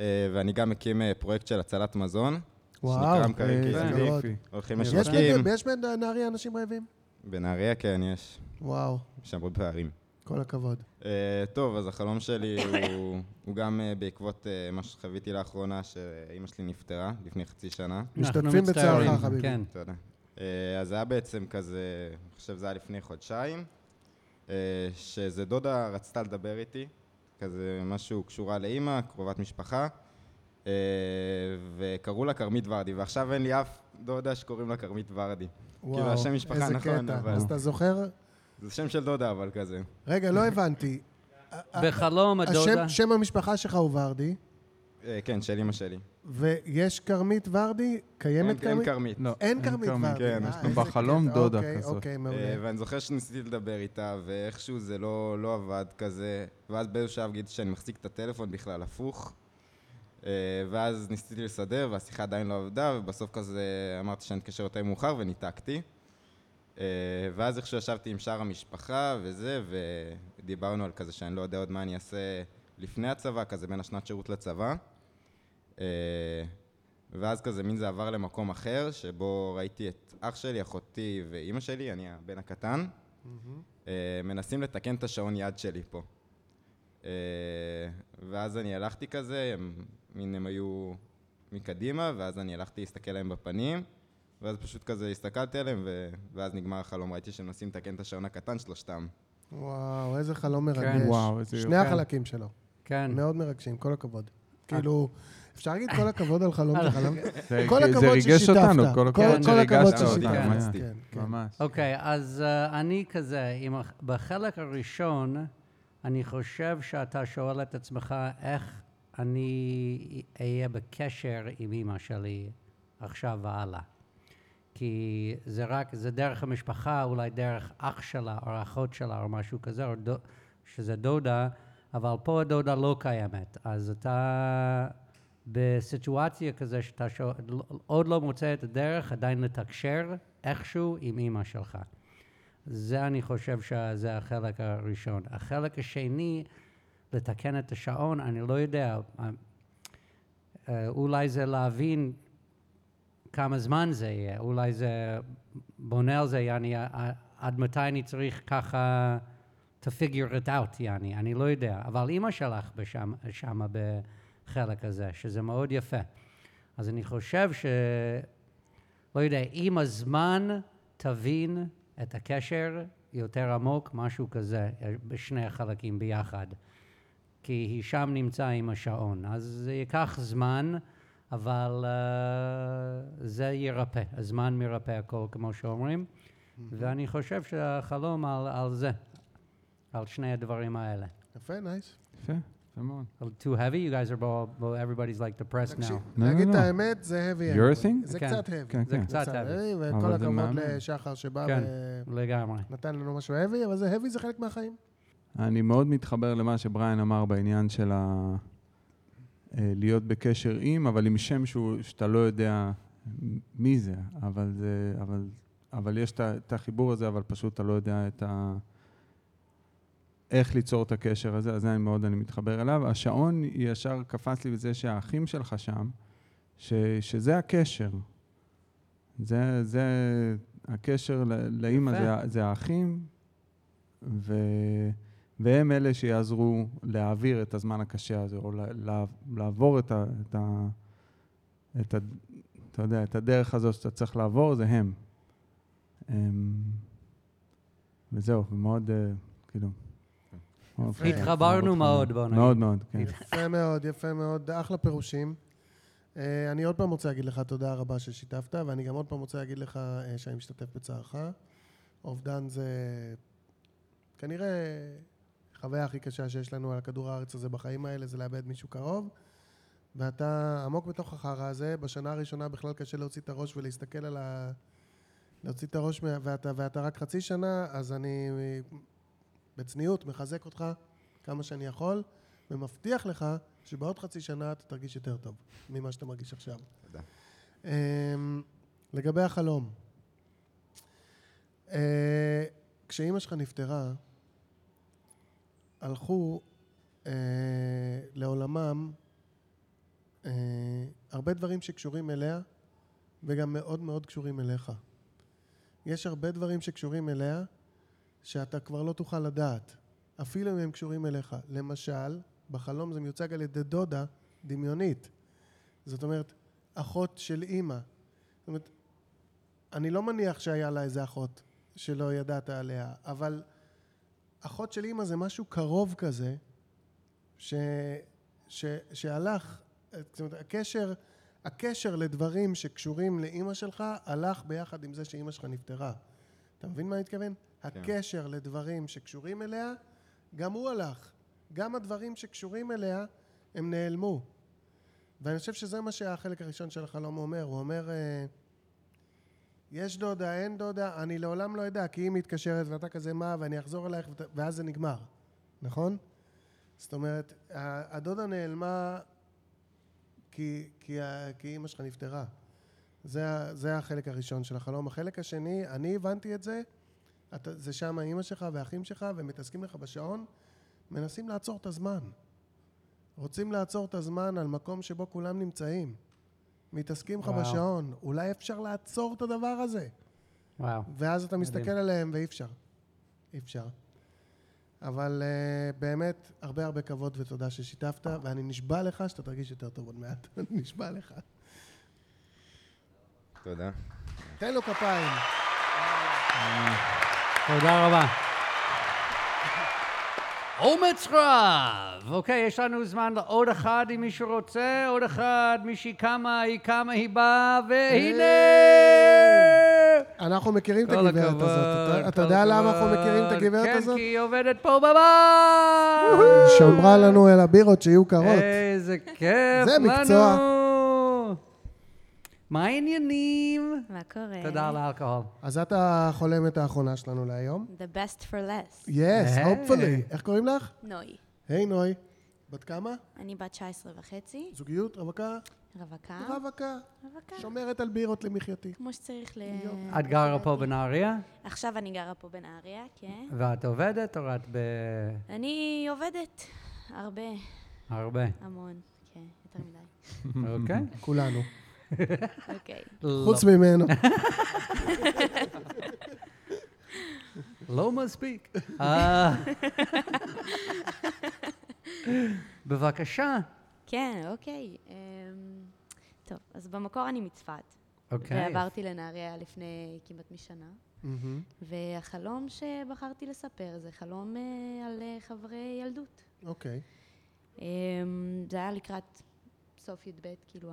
אה, ואני גם מקים אה, פרויקט של הצלת מזון. וואו, שנקרא מקרקעין. איזה כן. כבוד. הולכים יש לשווקים. בנ- יש בנהריה אנשים רעבים? בנהריה, כן, יש. וואו, יש שם הרבה פערים. כל הכבוד. אה, טוב, אז החלום שלי הוא- הוא גם אה, בעקבות אה, מה שחוויתי לאחרונה, שאימא שלי נפטרה לפני חצי שנה. משתתפים אנחנו מצטערים. בצערך, חביבי. כן. תודה. אה, אז זה היה בעצם כזה, אני חושב שזה היה לפני חודשיים, אה, שאיזה דודה רצתה לדבר איתי, כזה משהו קשורה לאימא, קרובת משפחה, אה, וקראו לה כרמית ורדי, ועכשיו אין לי אף דודה שקוראים לה כרמית ורדי. וואו, כאילו, השם משפחה איזה נכון, קטע. אבל... אז אתה זוכר? זה שם של דודה, אבל כזה. רגע, לא הבנתי. בחלום הדודה. השם, שם המשפחה שלך הוא ורדי, אה, כן, של אימא שלי. ויש כרמית ורדי? אין- קיימת אין כרמית? כרמית. לא, אין כרמית ורדי. כן, אה, יש לנו איזה בחלום קטע. דודה אוקיי, כזאת. אוקיי, אה, מעולה. ואני זוכר שניסיתי לדבר איתה, ואיכשהו זה לא, לא עבד כזה, ואז באיזשהו שלב גיליתי שאני מחזיק את הטלפון בכלל הפוך, אה, ואז ניסיתי לסדר, והשיחה עדיין לא עבדה, ובסוף כזה אמרתי שאני אתקשר יותר מאוחר, וניתקתי. אה, ואז איכשהו ישבתי עם שאר המשפחה וזה, ודיברנו על כזה שאני לא יודע עוד מה אני אעשה לפני הצבא, כזה בין השנת שירות לצבא. אה, ואז כזה מין זה עבר למקום אחר, שבו ראיתי את אח שלי, אחותי ואימא שלי, אני הבן הקטן, אה, מנסים לתקן את השעון יד שלי פה. אה, ואז אני הלכתי כזה, הם, מין הם היו מקדימה, ואז אני הלכתי להסתכל להם בפנים, ואז פשוט כזה הסתכלתי עליהם, ו... ואז נגמר החלום, ראיתי שהם מנסים לתקן את השעון הקטן שלושתם. וואו, איזה חלום מרגש. כן. וואו, איזה שני יופי. החלקים שלו. כן. אה. מאוד מרגשים, כל הכבוד. כאילו, אפשר להגיד כל הכבוד על חלום על- וחלום? זה- כל זה הכבוד ריגש ששיתפת. כן, אותנו, כל הכבוד כל הכבוד שריגשת ששיתפת. אותנו. כן, היה. כן, כן. ממש. אוקיי, אז אה, אני כזה, אם הח- בחלק הראשון, אני חושב שאתה שואל את עצמך איך אני אהיה בקשר עם אמא שלי עכשיו והלאה. כי זה רק, זה דרך המשפחה, אולי דרך אח שלה או אחות שלה או משהו כזה, או דו, שזה דודה, אבל פה הדודה לא קיימת. אז אתה בסיטואציה כזה שאתה שואל, עוד לא מוצא את הדרך, עדיין לתקשר איכשהו עם אימא שלך. זה אני חושב שזה החלק הראשון. החלק השני, לתקן את השעון, אני לא יודע. אה, אה, אולי זה להבין כמה זמן זה יהיה, אולי זה בונה על זה, יעני, אה, עד מתי אני צריך ככה to figure it out, יעני, אני לא יודע. אבל אימא שלך בשם, שמה בחלק הזה, שזה מאוד יפה. אז אני חושב ש... לא יודע, עם הזמן תבין את הקשר יותר עמוק, משהו כזה, בשני החלקים ביחד. כי היא שם נמצא עם השעון. אז זה ייקח זמן, אה, אבל uh, זה ירפא. הזמן מרפא הכל, כמו שאומרים. ואני חושב שהחלום על, על זה, על שני הדברים האלה. יפה, נייס. יפה, יפה מאוד. Too heavy? You guys are all, well, everybody's like depressed now. לא, להגיד לא, את לא. האמת, זה heavy. Your heavy. thing? זה כן. קצת heavy. כן, זה כן. קצת heavy. אבל וכל זה הכבוד מהמם. לשחר שבא כן, ו- לגמרי. נתן לנו משהו heavy, אבל זה heavy זה חלק מהחיים. אני מאוד מתחבר למה שבריין אמר בעניין של ה... אה, להיות בקשר עם, אבל עם שם שהוא, שאתה לא יודע מי זה, אבל, זה, אבל, אבל יש את ה- את החיבור הזה, אבל פשוט אתה לא יודע את ה... איך ליצור את הקשר הזה, אז זה אני מאוד אני מתחבר אליו. השעון ישר קפץ לי בזה שהאחים שלך שם, ש, שזה הקשר. זה, זה הקשר ל- לאימא, יפה. זה, ה- זה האחים, ו, והם אלה שיעזרו להעביר את הזמן הקשה הזה, או לה- לה- לעבור את ה... את ה, את ה אתה יודע, את הדרך הזאת שאתה צריך לעבור, זה הם. הם וזהו, ומאוד, אה, כאילו... מאוד יפה. חזק, התחברנו מאוד, בוא נגיד. אוקיי. מאוד מאוד, כן. יפה מאוד, יפה מאוד, אחלה פירושים. אה, אני עוד פעם רוצה להגיד לך תודה רבה ששיתפת, ואני גם עוד פעם רוצה להגיד לך אה, שאני משתתף בצערך. אובדן זה כנראה החוויה הכי קשה שיש לנו על כדור הארץ הזה בחיים האלה, זה לאבד מישהו קרוב. ואתה עמוק בתוך החרא הזה, בשנה הראשונה בכלל קשה להוציא את הראש ולהסתכל על ה... להוציא את הראש, מה- ואתה, ואתה רק חצי שנה, אז אני בצניעות מחזק אותך כמה שאני יכול, ומבטיח לך שבעוד חצי שנה אתה תרגיש יותר טוב ממה שאתה מרגיש עכשיו. תודה. אמ, לגבי החלום, אה, כשאימא שלך נפטרה, הלכו אה, לעולמם אה, הרבה דברים שקשורים אליה וגם מאוד מאוד קשורים אליך. יש הרבה דברים שקשורים אליה שאתה כבר לא תוכל לדעת, אפילו אם הם קשורים אליך. למשל, בחלום זה מיוצג על ידי דודה דמיונית. זאת אומרת, אחות של אימא. זאת אומרת, אני לא מניח שהיה לה איזה אחות שלא ידעת עליה, אבל אחות של אימא זה משהו קרוב כזה, ש, ש, שהלך, זאת אומרת, הקשר, הקשר לדברים שקשורים לאימא שלך הלך ביחד עם זה שאימא שלך נפטרה. אתה מבין מה אני מתכוון? הקשר לדברים שקשורים אליה, גם הוא הלך. גם הדברים שקשורים אליה, הם נעלמו. ואני חושב שזה מה שהחלק הראשון של החלום אומר. הוא אומר, אה, יש דודה, אין דודה, אני לעולם לא אדע, כי היא מתקשרת ואתה כזה מה, ואני אחזור אלייך, ואת- ואז זה נגמר, נכון? זאת אומרת, ה- הדודה נעלמה כי, כי, ה- כי אימא שלך נפטרה. זה, ה- זה החלק הראשון של החלום. החלק השני, אני הבנתי את זה, אתה, זה שם אימא שלך והאחים שלך, והם מתעסקים לך בשעון, מנסים לעצור את הזמן. רוצים לעצור את הזמן על מקום שבו כולם נמצאים. מתעסקים לך וואו. בשעון. אולי אפשר לעצור את הדבר הזה. וואו. ואז אתה מדהים. מסתכל עליהם ואי אפשר. אי אפשר. אבל uh, באמת, הרבה הרבה כבוד ותודה ששיתפת, ואני נשבע לך שאתה תרגיש יותר טוב עוד מעט. אני נשבע לך. תודה. תן לו כפיים. תודה רבה. אומץ רב! אוקיי, יש לנו זמן לעוד אחד אם מישהו רוצה, עוד אחד, מישהי קמה, היא קמה, היא באה, והנה! אנחנו מכירים את כל הגברת הזאת. הכבוד, אתה, אתה אה, כל יודע למה אנחנו הכבוד. מכירים את הגברת הזאת? כן, כי היא עובדת פה בבית! שמרה לנו אל הבירות שיהיו קרות. איזה כיף זה לנו! מקצוע. מה העניינים? מה קורה? תודה על האלכוהול. אז את החולמת האחרונה שלנו להיום. The best for less. יס, היי. אה. hopefully. איך קוראים לך? אה. נוי. היי נוי. בת כמה? אני בת 19 וחצי, זוגיות? רווקה? רווקה. רווקה. רווקה. שומרת על בירות למחייתי. כמו שצריך ל... את גרה פה בנהריה, עכשיו אני גרה פה בנהריה, כן. ואת עובדת או את ב... אני עובדת הרבה, הרבה? המון, כן, יותר מדי. אוקיי. כולנו. אוקיי. חוץ ממנו. לא מספיק. אה. בבקשה. כן, אוקיי. אמ, טוב, אז במקור אני מצפת. אוקיי. ועברתי לנהריה לפני כמעט משנה. מהמם. והחלום שבחרתי לספר זה חלום אה, על אה, חברי ילדות. אוקיי. אמ, זה היה לקראת סוף י"ב, כאילו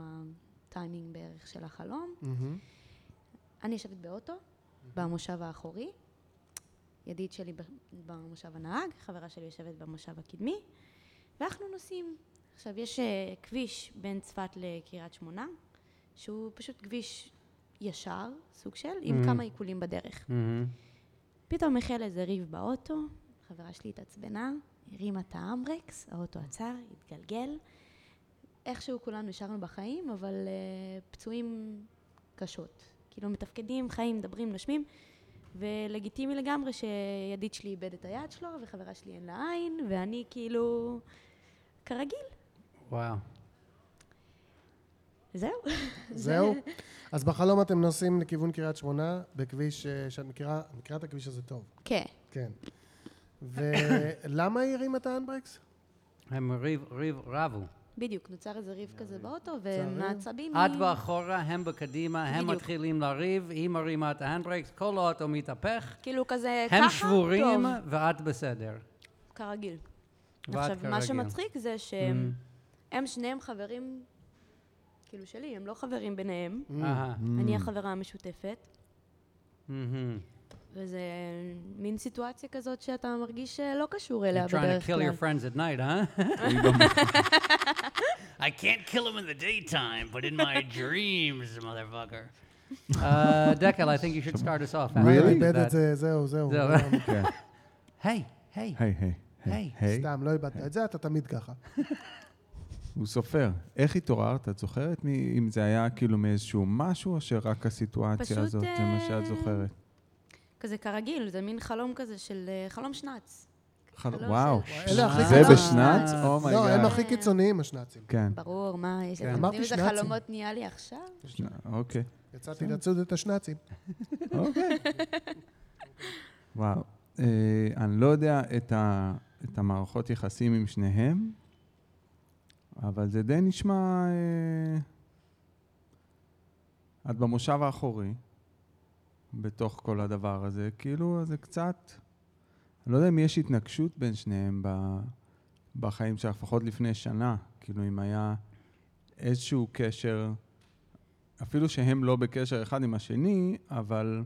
הטיימינג בערך של החלום. מהמם. אני יושבת באוטו, במושב האחורי, ידיד שלי ב- במושב הנהג, חברה שלי יושבת במושב הקדמי, ואנחנו נוסעים. עכשיו, יש אה, כביש בין צפת לקריית שמונה, שהוא פשוט כביש ישר, סוג של, עם Mhm. כמה עיקולים בדרך. מהמם. פתאום החל איזה ריב באוטו, חברה שלי התעצבנה, הרימה את האמברקס, האוטו עצר, התגלגל. איכשהו כולנו נשארנו בחיים, אבל uh, פצועים קשות. כאילו מתפקדים, חיים, מדברים, נושמים, ולגיטימי לגמרי שידיד שלי איבד את היד שלו, וחברה שלי אין לה עין, ואני כאילו... כרגיל, וואו. זהו. זהו? זה- אז בחלום אתם נוסעים לכיוון קריית שמונה, בכביש אה, שאת מכירה, את מכירה את הכביש הזה טוב. כן. כן. ולמה היא הרימה את האנברקס? אה, הם ריב, ריב, רבו. בדיוק, נוצר איזה ריב כזה באוטו, ומעצבים... את באחורה, הם בקדימה, הם בדיוק. מתחילים לריב, היא מרימה את ההנדברקס, כל האוטו מתהפך, כאילו כזה ככה, הם שבורים טוב, ואת בסדר. כרגיל. ואת עכשיו, מה כרגיל. Mm. שמצחיק זה שהם הם שניהם חברים, כאילו שלי, הם לא חברים ביניהם. Mm. אהה. Mm. אני החברה המשותפת, מהמם. וזה מין סיטואציה כזאת שאתה מרגיש שלא קשור אליה You're trying to בדרך kill כלל. your friends at night, huh? I can't kill him in the daytime, but in my dreams, motherfucker. Uh, Dekel, I think you should start us off. after Really? that. איבד את זה, זהו, זהו. אה, לא, זהו. היי, היי. כן. היי, היי. היי. היי. סתם, לא איבדת את זה, אתה תמיד ככה. הוא סופר. איך התעוררת? את זוכרת מי- אם זה היה כאילו מאיזשהו משהו, או שרק פשוט, הסיטואציה הזאת, זה מה שאת אה, זוכרת? כזה כרגיל, זה מין חלום כזה של אה, חלום שנץ. חל- חלום וואו. של- אלה הכי חלום גדולים. של בשנץ? שנץ. אה. אומייגאד. לא, הם הכי קיצוניים, השנ"צים. Oh כן. ברור, מה, יש כן. אתם אמרתי יודעים איזה שנ"צים. חלומות נהיה לי עכשיו? אוקיי. יצאתי לצוד את השנ"צים. אוקיי. וואו. אה, אני לא יודע את, ה, את המערכות יחסים עם שניהם, אבל זה די נשמע... אה, את במושב האחורי, בתוך כל הדבר הזה, כאילו זה קצת... אני לא יודע אם יש התנגשות בין שניהם ב, בחיים שלך, לפחות לפני שנה, כאילו אם היה איזשהו קשר, אפילו שהם לא בקשר אחד עם השני, אבל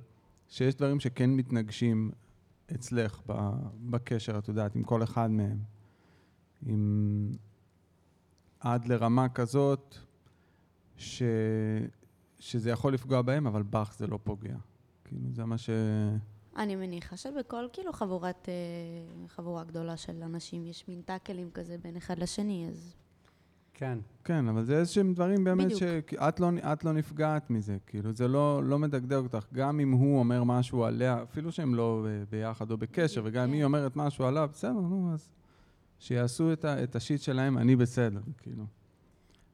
שיש דברים שכן מתנגשים אצלך ב, בקשר, את יודעת, עם כל אחד מהם. עם... עד לרמה כזאת ש... שזה יכול לפגוע בהם, אבל בך זה לא פוגע. כאילו, זה מה ש... אני מניחה שבכל כאילו חבורת, אה, חבורה גדולה של אנשים יש מין טאקלים כזה בין אחד לשני, אז כן. כן, אבל זה איזשהם דברים באמת בדיוק. שאת לא, את לא נפגעת מזה, כאילו, זה לא, לא מדגדג אותך. גם אם הוא אומר משהו עליה, אפילו שהם לא אה, ביחד או בקשר, וגם כן. אם היא אומרת משהו עליו, בסדר, נו, אז שיעשו את, ה- את השיט שלהם, אני בסדר, כאילו.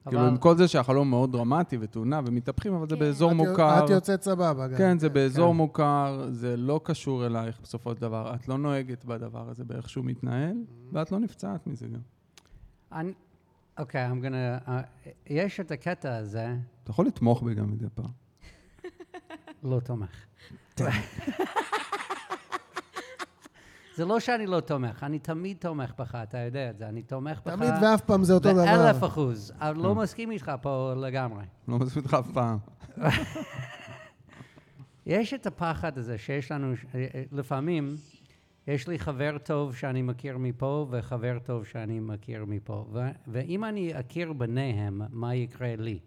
אבל- כאילו, עם כל זה שהחלום מאוד דרמטי ותאונה ומתהפכים, אבל זה באזור כן, את יו- מוכר. את יוצאת סבבה גם. כן, זה כן, באזור כן. מוכר, זה לא קשור אלייך בסופו של דבר. את לא נוהגת בדבר הזה באיך שהוא מתנהל, Mm. ואת לא נפצעת מזה גם. אני- אוקיי, I'm gonna... אה, יש את הקטע הזה, אתה יכול לתמוך בי גם מדי פעם. לא תומך. זה לא שאני לא תומך, אני תמיד תומך בך, אתה יודע את זה, אני תומך בך. תמיד ואף פעם זה אותו דבר. כן. באלף אחוז. אני לא מסכים איתך פה לגמרי. לא מספיק לך אף פעם. יש את הפחד הזה שיש לנו, ש- אה, אה, לפעמים, יש לי חבר טוב שאני מכיר מפה וחבר טוב שאני מכיר מפה. ו- ואם אני אכיר ביניהם, מה יקרה לי?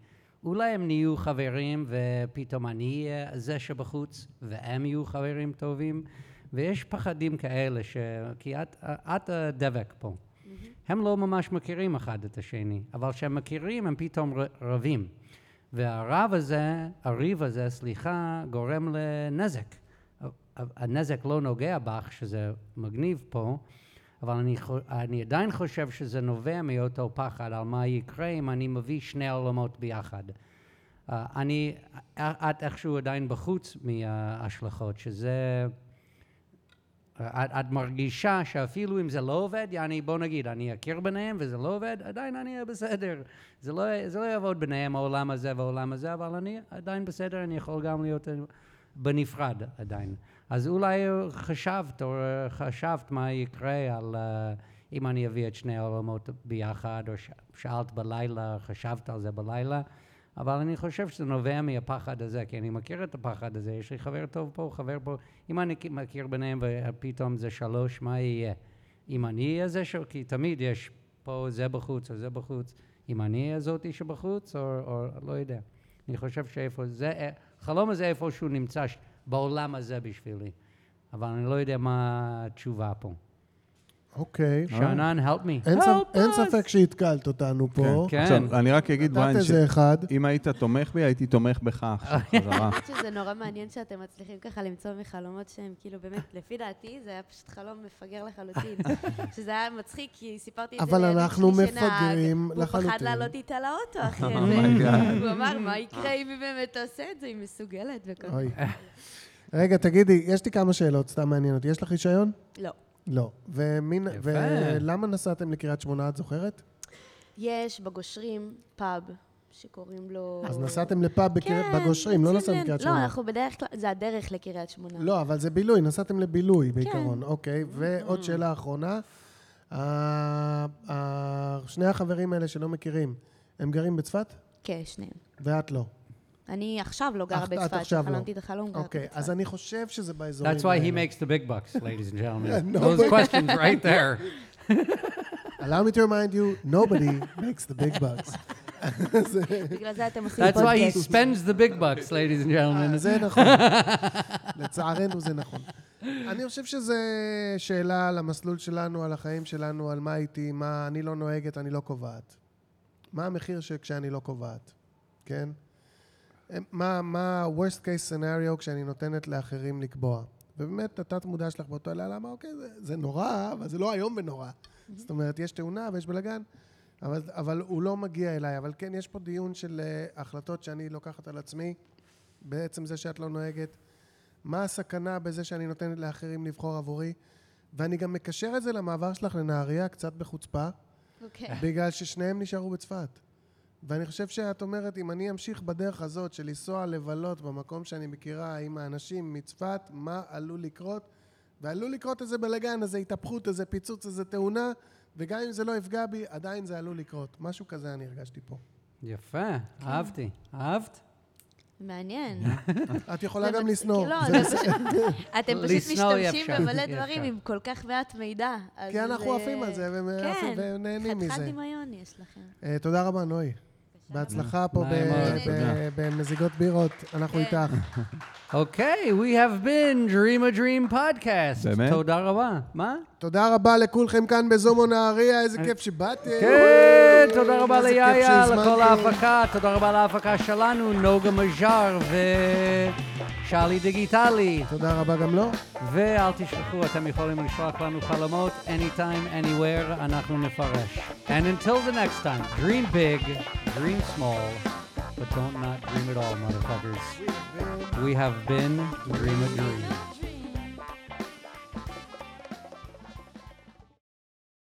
אולי הם נהיו חברים ופתאום אני אהיה זה שבחוץ והם יהיו חברים טובים. ויש פחדים כאלה, ש... כי את, אה, את הדבק פה. הם לא ממש מכירים אחד את השני, אבל כשהם מכירים הם פתאום ר- רבים. והרב הזה, הריב הזה, סליחה, גורם לנזק. ה- ה- הנזק לא נוגע בך, שזה מגניב פה, אבל אני, חו- אני עדיין חושב שזה נובע מאותו פחד על מה יקרה אם אני מביא שני עולמות ביחד. אה, אני, את איכשהו עדיין בחוץ מההשלכות, שזה... את, את מרגישה שאפילו אם זה לא עובד, יעני, בוא נגיד, אני אכיר ביניהם וזה לא עובד, עדיין אני אהיה בסדר. זה לא, זה לא יעבוד ביניהם, העולם הזה והעולם הזה, אבל אני עדיין בסדר, אני יכול גם להיות אה, בנפרד עדיין. אז אולי חשבת, או אה, חשבת מה יקרה על אה, אם אני אביא את שני העולמות ביחד, או ש- שאלת בלילה, חשבת על זה בלילה, אבל אני חושב שזה נובע מהפחד הזה, כי אני מכיר את הפחד הזה, יש לי חבר טוב פה, חבר פה, אם אני מכיר ביניהם ופתאום זה שלוש, מה יהיה? אם אני אהיה זה ש... כי תמיד יש פה זה בחוץ או זה בחוץ, אם אני אהיה זאתי שבחוץ או, או לא יודע. אני חושב שאיפה זה, החלום הזה איפשהו נמצא ש- בעולם הזה בשבילי, אבל אני לא יודע מה התשובה פה. אוקיי. שאנן, help me. אין ספ- Help אין ספק שהתקלת אותנו פה. כן. עכשיו, אני רק אגיד, נתת ויין, איזה אחד. שאם היית תומך בי, הייתי תומך בך עכשיו, חזרה. חושבת שזה נורא מעניין שאתם מצליחים ככה למצוא מחלומות שהם כאילו באמת, לפי דעתי זה היה פשוט חלום מפגר לחלוטין. שזה היה מצחיק, כי סיפרתי את זה אבל לילד אנחנו שלי שנהג, מפגרים הוא לחלוטין. פחד לעלות איתה לאוטו אחרי Oh my זה. God. כן. הוא אמר, מה אה. יקרה אם היא באמת תעשה את זה, היא מסוגלת וכל אוי. כך. רגע, תגידי, יש לי כמה שאלות, סתם מעניין אותי. יש לך רישיון? לא. לא. ומין- ולמה נסעתם לקריית שמונה, את זוכרת? יש בגושרים פאב שקוראים לו... אז נסעתם לפאב בקריית- כן, בגושרים, לא יוצאים נסעתם ל- לקריית לא, שמונה. אנחנו בדרך כלל, זה הדרך לקריית שמונה. לא, אבל זה בילוי, נסעתם לבילוי כן. בעיקרון. אוקיי, Mm. ועוד שאלה אחרונה. ה- ה- שני החברים האלה שלא מכירים, הם גרים בצפת? כן, שניהם. ואת לא. אני עכשיו לא גרה את- את בצפת, עכשיו לא. שחלמתי את החלום. גרתי אוקיי, אז אני חושב שזה באזורים That's why he האלה. makes the big bucks, ladies and gentlemen. No, Those but- questions right there. Allow me to remind you, nobody makes the big bucks. אז- בגלל זה אתם עושים That's why he פודקאסט. spends the big bucks, ladies and gentlemen. אה, זה נכון. לצערנו זה נכון. אני חושב שזו שאלה על המסלול שלנו, על החיים שלנו, על מה הייתי, מה אני לא נוהגת, אני לא קובעת. מה המחיר שכשאני לא קובעת, כן? מה, מה ה-worst case scenario כשאני נותנת לאחרים לקבוע? ובאמת, התת-מודע שלך באותו לילה אמר, אוקיי, זה, זה נורא, אבל זה לא איום ונורא. זאת אומרת, יש תאונה ויש בלאגן, אבל, אבל הוא לא מגיע אליי. אבל כן, יש פה דיון של אה, החלטות שאני לוקחת על עצמי, בעצם זה שאת לא נוהגת. מה הסכנה בזה שאני נותנת לאחרים לבחור עבורי? ואני גם מקשר את זה למעבר שלך לנהריה, קצת בחוצפה, אוקיי. בגלל ששניהם נשארו בצפת. ואני חושב שאת אומרת, אם אני אמשיך בדרך הזאת של לנסוע לבלות במקום שאני מכירה עם האנשים מצפת, מה עלול לקרות? ועלול לקרות איזה בלאגן, איזה התהפכות, איזה פיצוץ, איזה תאונה, וגם אם זה לא יפגע בי, עדיין זה עלול לקרות. משהו כזה אני הרגשתי פה. יפה, אהבתי. אהבת? מעניין. את יכולה זה גם מצ- לשנוא, לא, זה זה בסדר. פשוט- אתם פשוט לשנוא אי משתמשים אפשר, במלא אי דברים אפשר. עם כל כך מעט מידע. אז כי כן, אנחנו זה- עפים על זה ומ- כן. ונהנים חתיכת מזה. דמיון יש לכם. אה, תודה רבה, נוי. בהצלחה פה ב- נעים מאוד, ב- תודה. במזיגות בירות, אנחנו איתך. Okay, אוקיי, we have been Dream a Dream podcast. באמת? תודה רבה. מה? תודה רבה לכולכם כאן בזומו נהריה, איזה כיף שבאתם. כן, תודה רבה אה, איזה כיף ליאיה, שהזמנתם. לכל ההפקה, תודה רבה להפקה שלנו, נוגה מז'אר ושאלי דיגיטלי. תודה רבה גם לו. ואל תשכחו, אתם יכולים לשלוח לנו חלומות, anytime, anywhere, אנחנו נפרש. And until the next time, dream big, dream small, but don't not dream at all, motherfuckers. We have been Dream a Dream.